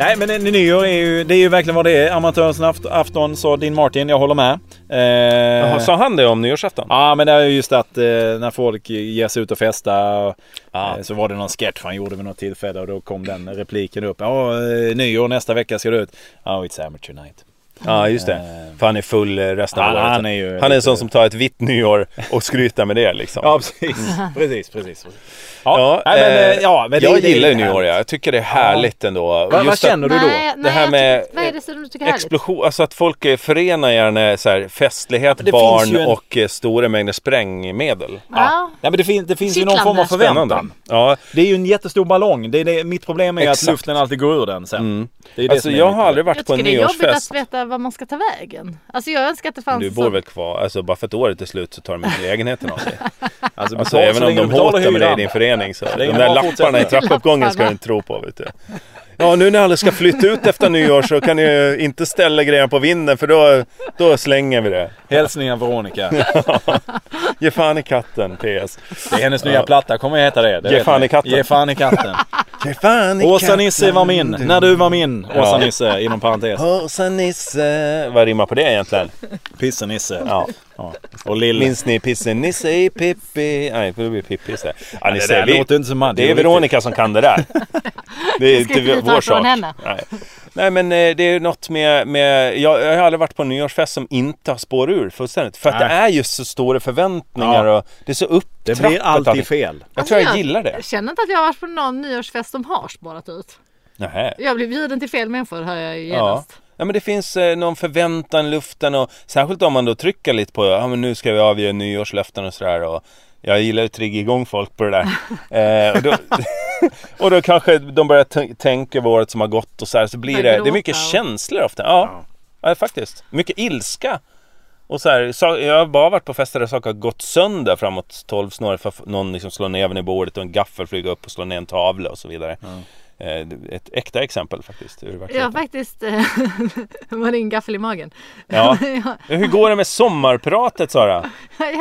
D: Nej men en nyår är ju, det är ju verkligen vad det är. Amatörens aft- afton sa din Martin, jag håller med. Eh,
B: Jaha, Sa han det om nyårsafton?
D: Ja men det är ju just att eh, när folk ger sig ut och festar
B: Ja.
D: eh, så var det någon sketch han gjorde vid något tillfälle och då kom den repliken upp. Ja, eh, nyår nästa vecka ska du ut. Oh, it's amateur night.
B: Ja, just det. För han är full eh, resten av
D: Han-
B: året.
D: han är ju
B: han är en
D: lite-
B: sån som tar ett vitt nyår och skryter med det liksom.
D: Ja precis, precis, precis. precis.
B: Ja,
D: nej, men,
B: eh,
D: eh, ja, men det-
B: jag
D: det- det-
B: gillar ju
D: det-
B: nyår, ja. jag tycker det är härligt ändå.
D: Vad- vad
B: Just att-
D: känner du då?
E: Nej,
B: Det
E: nej,
B: här
E: jag
B: med,
E: tycker- vad är det som du tycker är härligt?
B: Explosion, alltså att folk eh, förenar gärna så här, festlighet,
D: det finns
B: barn
D: ju en-
B: och eh, stora mängder sprängmedel.
E: Ja.
D: Nej, men det, fin- det finns ju någon form
E: Kittlande.
D: av förväntan.
B: Spännande. Ja,
D: Det är ju en jättestor ballong. Det är det, mitt problem är
B: Exakt.
D: att luften alltid går ur den sen. Det är ju det
B: alltså
D: som är
B: jag
D: mitt
B: har aldrig
E: Jag
B: varit på en
E: tycker det är jobbigt att
B: nyårsfest.
E: veta vad man ska ta vägen. Alltså jag önskar att det fanns
B: Du
E: en
B: bor
E: sån-
B: väl kvar, alltså bara för att året är slut så tar de inte lägenheten av dig.
D: problem.
B: Alltså
D: Alltså, betala-
B: även
D: så
B: om
D: länge
B: de
D: du betalar
B: hotar med dig i
D: hyran.
B: din förening så. De
D: ingen
B: där
D: bra
B: lapparna i
D: fortsättning.
B: trappuppgången ska du inte tro på vet du. Ja nu när alla ska flytta ut efter nyår så kan ni ju inte ställa grejerna på vinden för då, då slänger vi det.
D: Hälsningar Veronica.
B: Ge fan i katten PS.
D: Det är hennes nya platta kommer att heta det. det
B: Ge
D: vet
B: fan
D: ni.
B: i katten.
D: Ge fan i katten.
B: Ge fan i
D: Åsa-Nisse var min. När du var min.
B: Ja.
D: Åsa-Nisse inom parentes.
B: Åsa-Nisse. Vad rimmar på det egentligen?
D: Pisse-Nisse.
B: Ja.
D: Ja. Och Lill.
B: Minns ni Pisse-Nisse i Pippi? Nej, det blir Pippi istället. Ja, ni
D: det
B: ser,
D: där
B: vi,
D: låter inte som Madde,
B: det är
D: riktigt.
B: Veronica som kan det där. Det är
E: ska inte
B: inte
E: vi ta
B: vår
E: ifrån
B: sak.
E: henne.
B: Nej. Nej men eh, det är ju något med, med jag, jag har aldrig varit på en nyårsfest som inte har spår ur fullständigt. För att
D: Nej.
B: det är just så stora förväntningar
D: Ja.
B: och det är så upptrappat.
D: Det blir alltid
B: allting.
D: fel.
B: Jag tror jag gillar det.
E: Jag känner inte att jag har varit på någon nyårsfest som har spårat ut.
B: Nähä.
E: Jag blev bjuden till fel människor hör jag ju
B: Ja.
E: genast.
B: ja men det finns eh, någon förväntan i luften och särskilt om man då trycker lite på ja men nu ska vi avge nyårslöften och sådär och jag gillar ju att trigga igång folk på det där. eh, och, då, och då kanske de börjar t- tänka på året som har gått och så här så blir
E: Börjar
B: det, det är mycket
E: gråta och-
B: känslor ofta. Ja, ja. faktiskt. Mycket ilska. Och så här, sa- jag har bara varit på fester där saker har gått sönder framåt 12 snarare för att någon liksom slår näven i bordet och en gaffel flyger upp och slår ner en tavla och så vidare. Eh, Ett äkta exempel faktiskt. Ur
E: Jag
B: verkligheten.
E: har faktiskt eh, var det en gaffel i magen.
B: Ja.
E: jag,
B: Hur går det med sommarpratet Sara?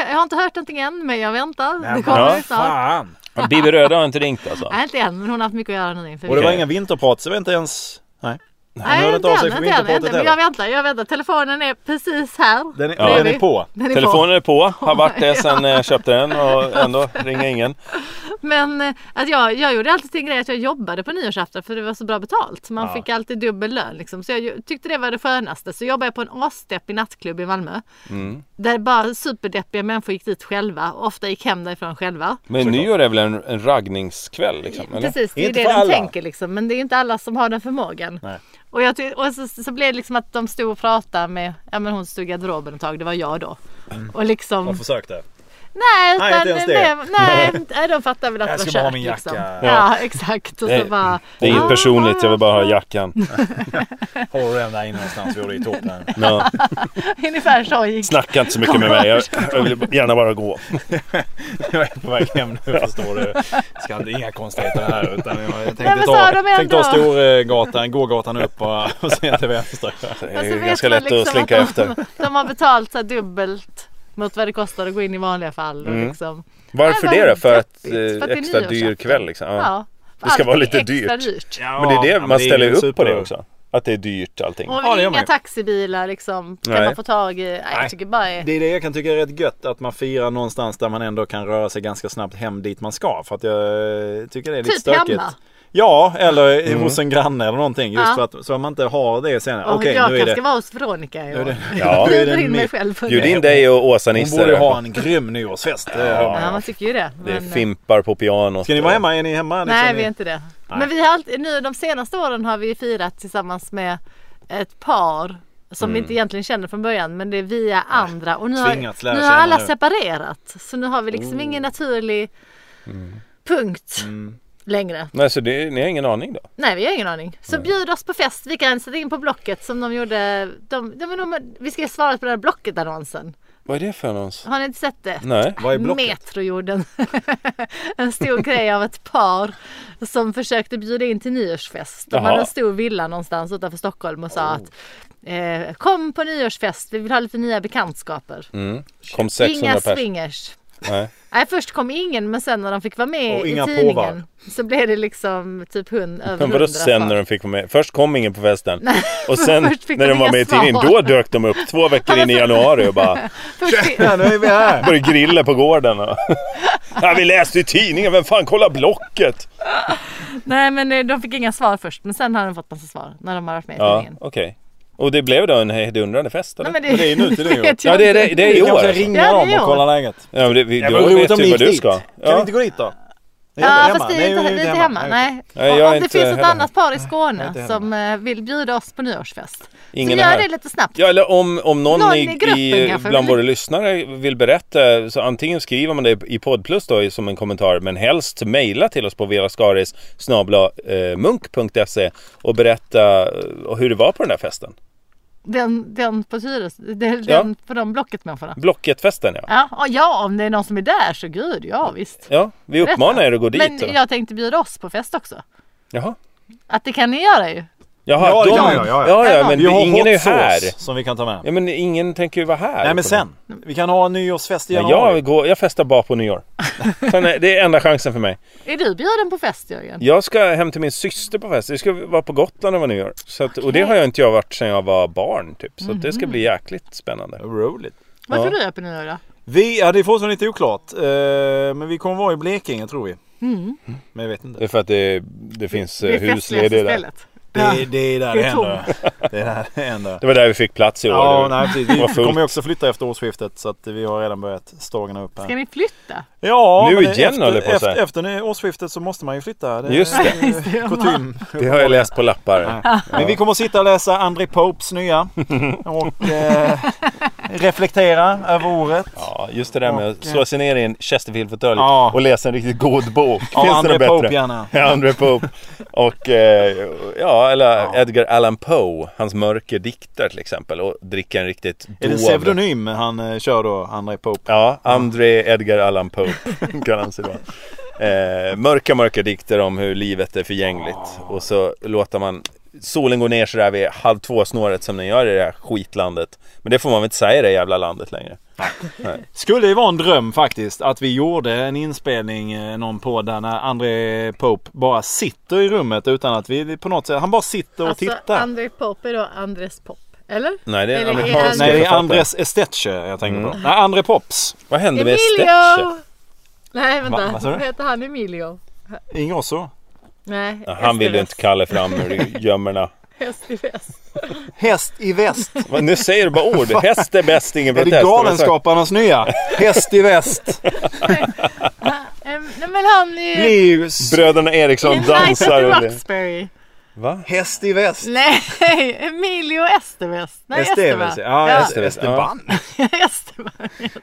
E: jag har inte hört någonting än men jag väntar. det
B: vad
E: kommer
B: Ja.
E: snart.
D: Fan!
B: Bibi Röda har inte ringt alltså?
E: Nej inte än men hon har haft mycket att göra nu inför
D: Och det var
B: Okej.
D: inga vinterprat så det var inte ens... Nej.
E: Nej,
D: hörde
E: inte
D: inte av sig
E: än,
D: för
E: inte än,
D: vinterpratet
E: inte, men jag väntar, jag väntar. Telefonen är precis här.
D: Den är,
E: Ja.
D: den är på.
E: Den är
B: Telefonen är på, har varit det sen eh, jag köpte den och ändå ringer ingen.
E: På. Men eh, att jag, jag gjorde alltid till en grej att jag jobbade på nyårsafton för det var så bra betalt. Man fick alltid dubbel lön liksom. Så jag ju- tyckte det var det skönaste. Så jobbade jag på en asdeppig nattklubb i Malmö.
D: Mm.
E: Där bara superdeppiga människor gick dit själva. och Ofta gick hem därifrån själva.
B: Men nyår är väl en, en raggningskväll liksom? Eller?
E: Precis, det är
D: Inte
E: det
D: för
E: de
D: alla.
E: tänker liksom. Men det är inte alla som har den förmågan.
D: Nej.
E: Och, jag ty- och så, så blev det liksom att de stod och pratade med, ja men hon stod i garderoben ett tag, det var jag då.
D: Mm.
E: Och liksom,
D: Jag försökte.
E: Nej, utan
D: Nej, inte ens det.
E: det- nej, nej, de fattar väl att
D: Jag
E: det var
D: ska bara ha
E: kört.
D: min
E: Liksom.
D: jacka.
E: Ja. ja, exakt. Och
B: Det-
E: så bara,
B: Det är inget
E: Ah,
B: personligt, jag vill bara ha jackan.
D: Håller den där inne någonstans vore det ju toppen.
B: No.
E: ungefär så gick det.
B: Snacka inte så mycket med mig, jag, jag vill gärna bara gå.
E: Alltså,
D: Jag är på väg hem nu förstår du. Ska inte, inga konstigheter här utan jag tänkte
E: Nej, men så
D: ta,
E: har de
D: tänkte ta
E: ändå-
D: Storgatan, gågatan upp och, och sen till vänster.
B: Det
E: Och så
B: är ju
E: vet
B: ganska
E: man
B: lätt att
E: liksom
B: slinka
E: de,
B: efter.
E: De har betalt så här dubbelt mot vad det kostar att gå in i vanliga fall. Och
B: Mm.
E: liksom,
B: Varför
E: Nej,
B: det
E: vad
B: då? För att
E: deppigt. För att
B: eh,
E: det är
B: extra dyr
E: nyårsafton.
B: kväll liksom? Ja.
E: ja.
B: Det ska vara
E: Allt är
B: lite
E: extra
B: dyrt.
E: dyrt.
B: Men det är det
D: Ja, men
B: man ställer
D: ju
B: upp på
D: super-
B: det också. Att det är dyrt allting.
E: Och
D: Ja, det gör man
E: inga
D: ju.
E: taxibilar liksom, kan
B: Nej.
E: man få tag i. Nej,
D: Nej.
E: jag tycker bara är...
D: Det är det jag kan tycka är rätt gött att man firar någonstans där man ändå kan röra sig ganska snabbt hem dit man ska. För att jag eh, tycker det är lite
E: Typ
D: stökigt.
E: hemma.
D: Ja, eller hos en granne eller någonting. Just
E: Ja.
D: för att så att man inte har det sen.
E: Och
D: Okej,
E: jag
D: nu är
E: kanske
D: det.
E: ska vara hos Veronica i år.
B: Ja.
E: Jag
D: Nu är det
E: bjuder in mig
D: mitt.
E: själv för
B: Bjud
E: det.
B: in dig och
D: Hon borde ju
B: Åsa-Nisse.
D: ha en grym nyårsfest. det hör man.
E: Ja, man tycker ju det.
B: Det är
E: men- eh,
B: fimpar på pianot. eh,
D: Ska ni vara hemma? Är ni hemma? liksom?
E: Nej,
D: Ni-
E: vi är inte det. Men vi har alltid, nu de senaste åren har vi firat tillsammans med ett par som vi inte egentligen känner från början men det är via andra och nu
D: Tvingats
E: har,
D: lära
E: nu har
D: känna
E: alla
D: nu.
E: separerat så nu har vi liksom ingen naturlig punkt längre.
B: Nej, så det, ni har ingen aning då?
E: Nej vi har ingen aning. Så bjud oss på fest, vi kan sätta in på Blocket som de gjorde. De, de, de, de, vi ska svara på den här Blocket-annonsen.
B: Vad är det för annons?
E: Har ni inte sett det?
B: Nej.
D: Vad är blocket?
E: Metro gjorde en, en stor grej av ett par som försökte bjuda in till nyårsfest. De
B: Jaha. Oh.
E: hade en stor villa någonstans utanför Stockholm och sa att eh, kom på nyårsfest, vi vill ha lite nya bekantskaper.
B: Kom 600
E: Inga
B: Mm. pers.
E: swingers.
B: Nej.
E: Nej först kom ingen men sen när de fick vara med
D: Och
E: i
D: inga
E: tidningen
D: påvar.
E: så blev det liksom typ hund, över
B: Men
E: hundra.
B: vadå sen när
E: svar.
B: de fick vara med? Först kom ingen på festen. Och sen
E: först fick
B: när
E: de
B: de var
E: inga
B: med i tidningen,
E: svar.
B: då dök de upp två veckor in i januari och bara
E: Först fick-
D: Ja, nu är vi här.
B: började grilla på gården. Och... Ja, vi läste i tidningen, vem fan kollar Blocket?
E: Nej men eh, de fick inga svar först men sen har de fått massa svar när de har varit med i
B: Ja,
E: tidningen.
B: okej. Och det blev då en hejdundrande fest eller?
E: Nej, men
D: Men det är nu till nu,
E: vet jag
B: Ja, det är, det,
E: inte.
B: det är
D: Vi
B: i år.
D: kanske
B: alltså.
D: ringer
E: Ja, det
D: dem
E: är
D: och
E: år.
D: kollar läget.
B: Ja, men det, typ vi,
D: Det
B: då
D: var roligt
B: vet
D: om ni
B: ju
D: gick
B: vad du
D: dit.
B: ska.
D: Kan vi
B: Ja.
D: inte gå dit då? Nej,
E: Ja
D: vi är
E: fast vi är
D: Nej,
E: inte, vi är inte hemma. Nej.
B: Nej, jag
E: Och
B: är
E: om det
B: inte
E: finns ett
B: heller.
E: annat par i Skåne
D: inte heller.
E: som eh, vill bjuda oss på nyårsfest.
B: Ingen
E: så
B: är
E: gör
B: här.
E: det lite snabbt.
B: Ja, eller om, om någon,
E: Någon
B: i,
E: i gruppen
B: i,
E: kanske
B: bland
E: vill-
B: våra lyssnare vill berätta så antingen skriver man det i poddplus då i- som en kommentar men helst mejla till oss på velaskaris snabla eh, munk.se och berätta eh, hur det var på den där festen.
E: Den, den på Tyres, den,
B: Ja.
E: den på de blocket människorna.
B: Blocketfesten ja.
E: Ja, och ja, om det är någon som är där så gud, ja visst.
B: Ja, vi uppmanar er att gå dit.
E: Men
B: då.
E: jag tänkte bjuda oss på fest också.
B: Jaha.
E: Att det kan ni göra ju.
B: Jaha,
D: Ja, det
B: de,
D: kan man göra,
B: ja,
D: ja,
B: ja,
E: Ja.
B: men
D: Vi har
B: det, ingen är ju
D: hot sauce
B: här.
D: som vi kan ta med.
B: Ja, men ingen tänker ju vara här.
D: Nej
B: på
D: men
B: den.
D: sen. Vi kan ha en nyårsfest i
B: Ja,
D: januari.
B: jag, går, jag festar bara på nyår. Sen är, det är enda chansen för mig.
E: Är du bjuden på fest Jörgen?
B: Jag ska hem till min syster på fest. Vi ska vara på Gotland över nyår. Så att, Och det har jag inte jag varit sedan jag var barn typ. Så att det
D: Mhm.
B: ska bli jäkligt spännande.
D: Roligt.
E: Vad
B: Ja.
E: ska du göra på nyår då?
D: Vi, ja det är fortfarande lite oklart. Eh, men vi kommer vara i Blekinge tror vi. Men jag vet
E: Mm.
B: Det
D: inte.
B: är för att det, det finns
E: Det
B: eh,
E: är
B: hus
E: festligaste
B: lediga där.
E: stället.
D: Det,
E: Ja.
D: är- det är där
E: Det
D: det,
E: är
D: händer. Det är där det händer.
B: Det var där vi fick plats i år.
D: Ja,
B: Det-
D: nej, precis.
B: Det var
D: Vi
B: fullt.
D: kommer ju också flytta efter årsskiftet så att vi har redan börjat stågna upp
E: Ska
D: här.
E: ni flytta?
D: Ja,
B: Nu
D: men
B: igen,
D: efter,
B: höll jag på att säga.
D: efter, efter nu- årsskiftet så måste man ju flytta. Det är
B: Just det.
E: Just det, ja.
D: kutym.
B: Det har jag läst på lappar.
D: Nej. Men vi kommer att sitta och läsa André Popes nya och eh, reflektera över året.
B: Ja, just det där med att slå sig ner i en Chesterfield-fåtölj
D: eh, Ja.
B: och läsa en riktigt god bok.
D: Ja,
B: Finns det
D: André
B: något bättre?
D: Pope gärna.
B: Ja, André Pope. Och eh, ja, eller Edgar Allan Poe. Hans mörker dikter till exempel. Och dricka en riktigt
D: Är det en
B: dov-
D: pseudonym han eh, kör då, André Pope?
B: Ja, André Edgar Allan Poe kan han sig vara. Eh, mörka, mörka dikter om hur livet är förgängligt. Och så låter man solen gå ner sådär vid halv två-snåret som den gör i det här skitlandet. Men det får man väl inte säga i det jävla landet längre.
D: Skulle ju vara en dröm faktiskt att vi gjorde en inspelning, eh, någon podd där när André Pope bara sitter i rummet utan att vi på något sätt, han bara sitter och
E: Alltså,
D: tittar.
E: André Pop är då Andres Pop, eller?
B: Nej, det är en
E: Eller är
B: amerikansk
D: Nej, det är
B: författare.
D: Andres Estetche jag tänker
B: Mm.
D: på. Nej, André Pops.
B: Vad hände med Estetche?
E: Emilio! Nej,
D: Va,
E: vänta.
D: vad sa du?
E: Heter han Emilio?
D: Ingrosso.
E: Nej,
B: Ja, Han vill ju inte kalla fram ur gömmorna.
E: Häst i väst.
D: Häst i väst.
B: Vad, Nu säger du bara ord. Häst är bäst, ingen
D: Är
B: protest.
D: det
B: Har du sagt?
D: Galenskaparnas nya? Häst i väst.
E: Em, Nej, men han är ju...
D: Livs.
B: Bröderna Eriksson dansar.
E: United
B: under-
E: Roxbury.
B: Va?
D: Häst i väst.
E: Nej, Emilio Esterväst. Nej, Esterva.
D: Estevez. Ja,
E: Ja,
D: Est- Esteban.
E: Esterva.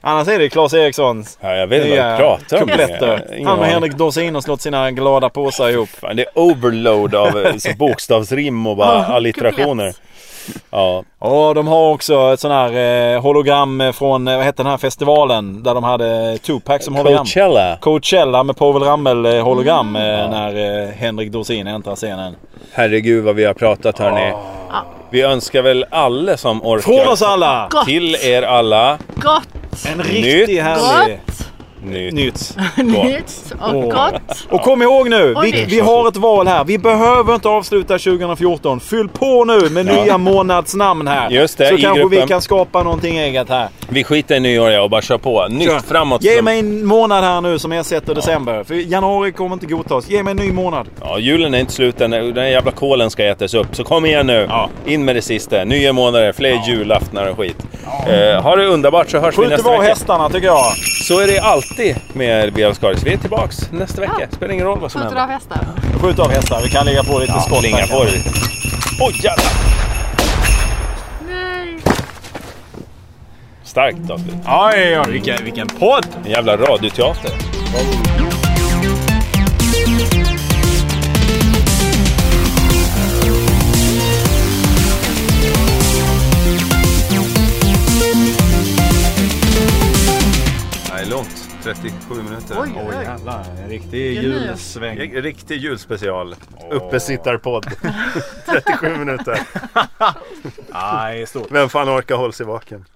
D: Annars är det Claes Erikssons
B: Ja, jag vet inte vad
D: nya
B: du pratar om.
D: kupletter.
B: Ingen
D: Han och
B: aning.
D: Henrik Dorsin har slått sina glada påsar ihop.
B: Fan, det är overload av eh, så bokstavsrim och bara alliterationer. Ja,
D: Ja, de har också ett sån här eh, hologram från, eh, vad hette den här festivalen? Där de hade Tupac som hologram.
B: Coachella. Mm.
D: Coachella med Povel Ramel eh, hologram eh, när eh, Henrik Dorsin äntrar scenen.
B: Herregud vad vi har pratat hörni. Vi önskar väl alla som orkar.
D: Från oss alla!
E: Gott.
B: Till er alla.
E: Gott.
D: En riktig
B: Nytt.
D: härlig...
E: Gott.
B: Nytt.
D: Nytt.
E: Nytt och
D: Åh.
E: gott.
D: Och kom ihåg nu,
E: Och
D: vi,
E: nytt.
D: vi har ett val här. Vi behöver inte avsluta 2014. Fyll på nu med
B: Ja.
D: nya månadsnamn här.
B: Just det,
D: så
B: i
D: kanske vi
B: gruppen.
D: kan skapa någonting eget här.
B: Vi skiter i nyår jag och bara kör på. Nytt
D: Kör.
B: framåt.
D: Ge
B: som-
D: mig en månad här nu som ersätter december. För januari kommer inte godtas. Ge mig en ny månad.
B: Ja, julen är inte slut än. Den här jävla kolen ska ätas upp. Så kom igen nu.
D: Ja.
B: In med det sista. Nya månader, fler julaftnar och skit. Eh, ha det underbart så hörs vi
D: Skjut
B: nästa
D: iväg
B: vecka.
D: hästarna tycker jag.
B: Så är det alltid med BL Skaris. Vi är tillbaks nästa vecka. Spelar ingen roll vad som
E: Skjuter
B: händer.
E: av hästar.
D: Skjut av hästar. Vi kan lägga på lite skott. här
B: Slinga på
D: kanske.
B: det lite. Oj jävlar!
E: Nej.
B: Starkt avslut.
D: Oj, oj, vilken, vilken podd!
B: En jävla radioteater. Nej, långt. 37 minuter.
E: Oj, oj, oj.
D: Jävlar, en riktig
E: nu.
D: julsväng.
B: Riktig julspecial. Uppesittarpodd. 37 minuter.
D: Nej, stort.
B: Vem fan orkar hålla sig vaken?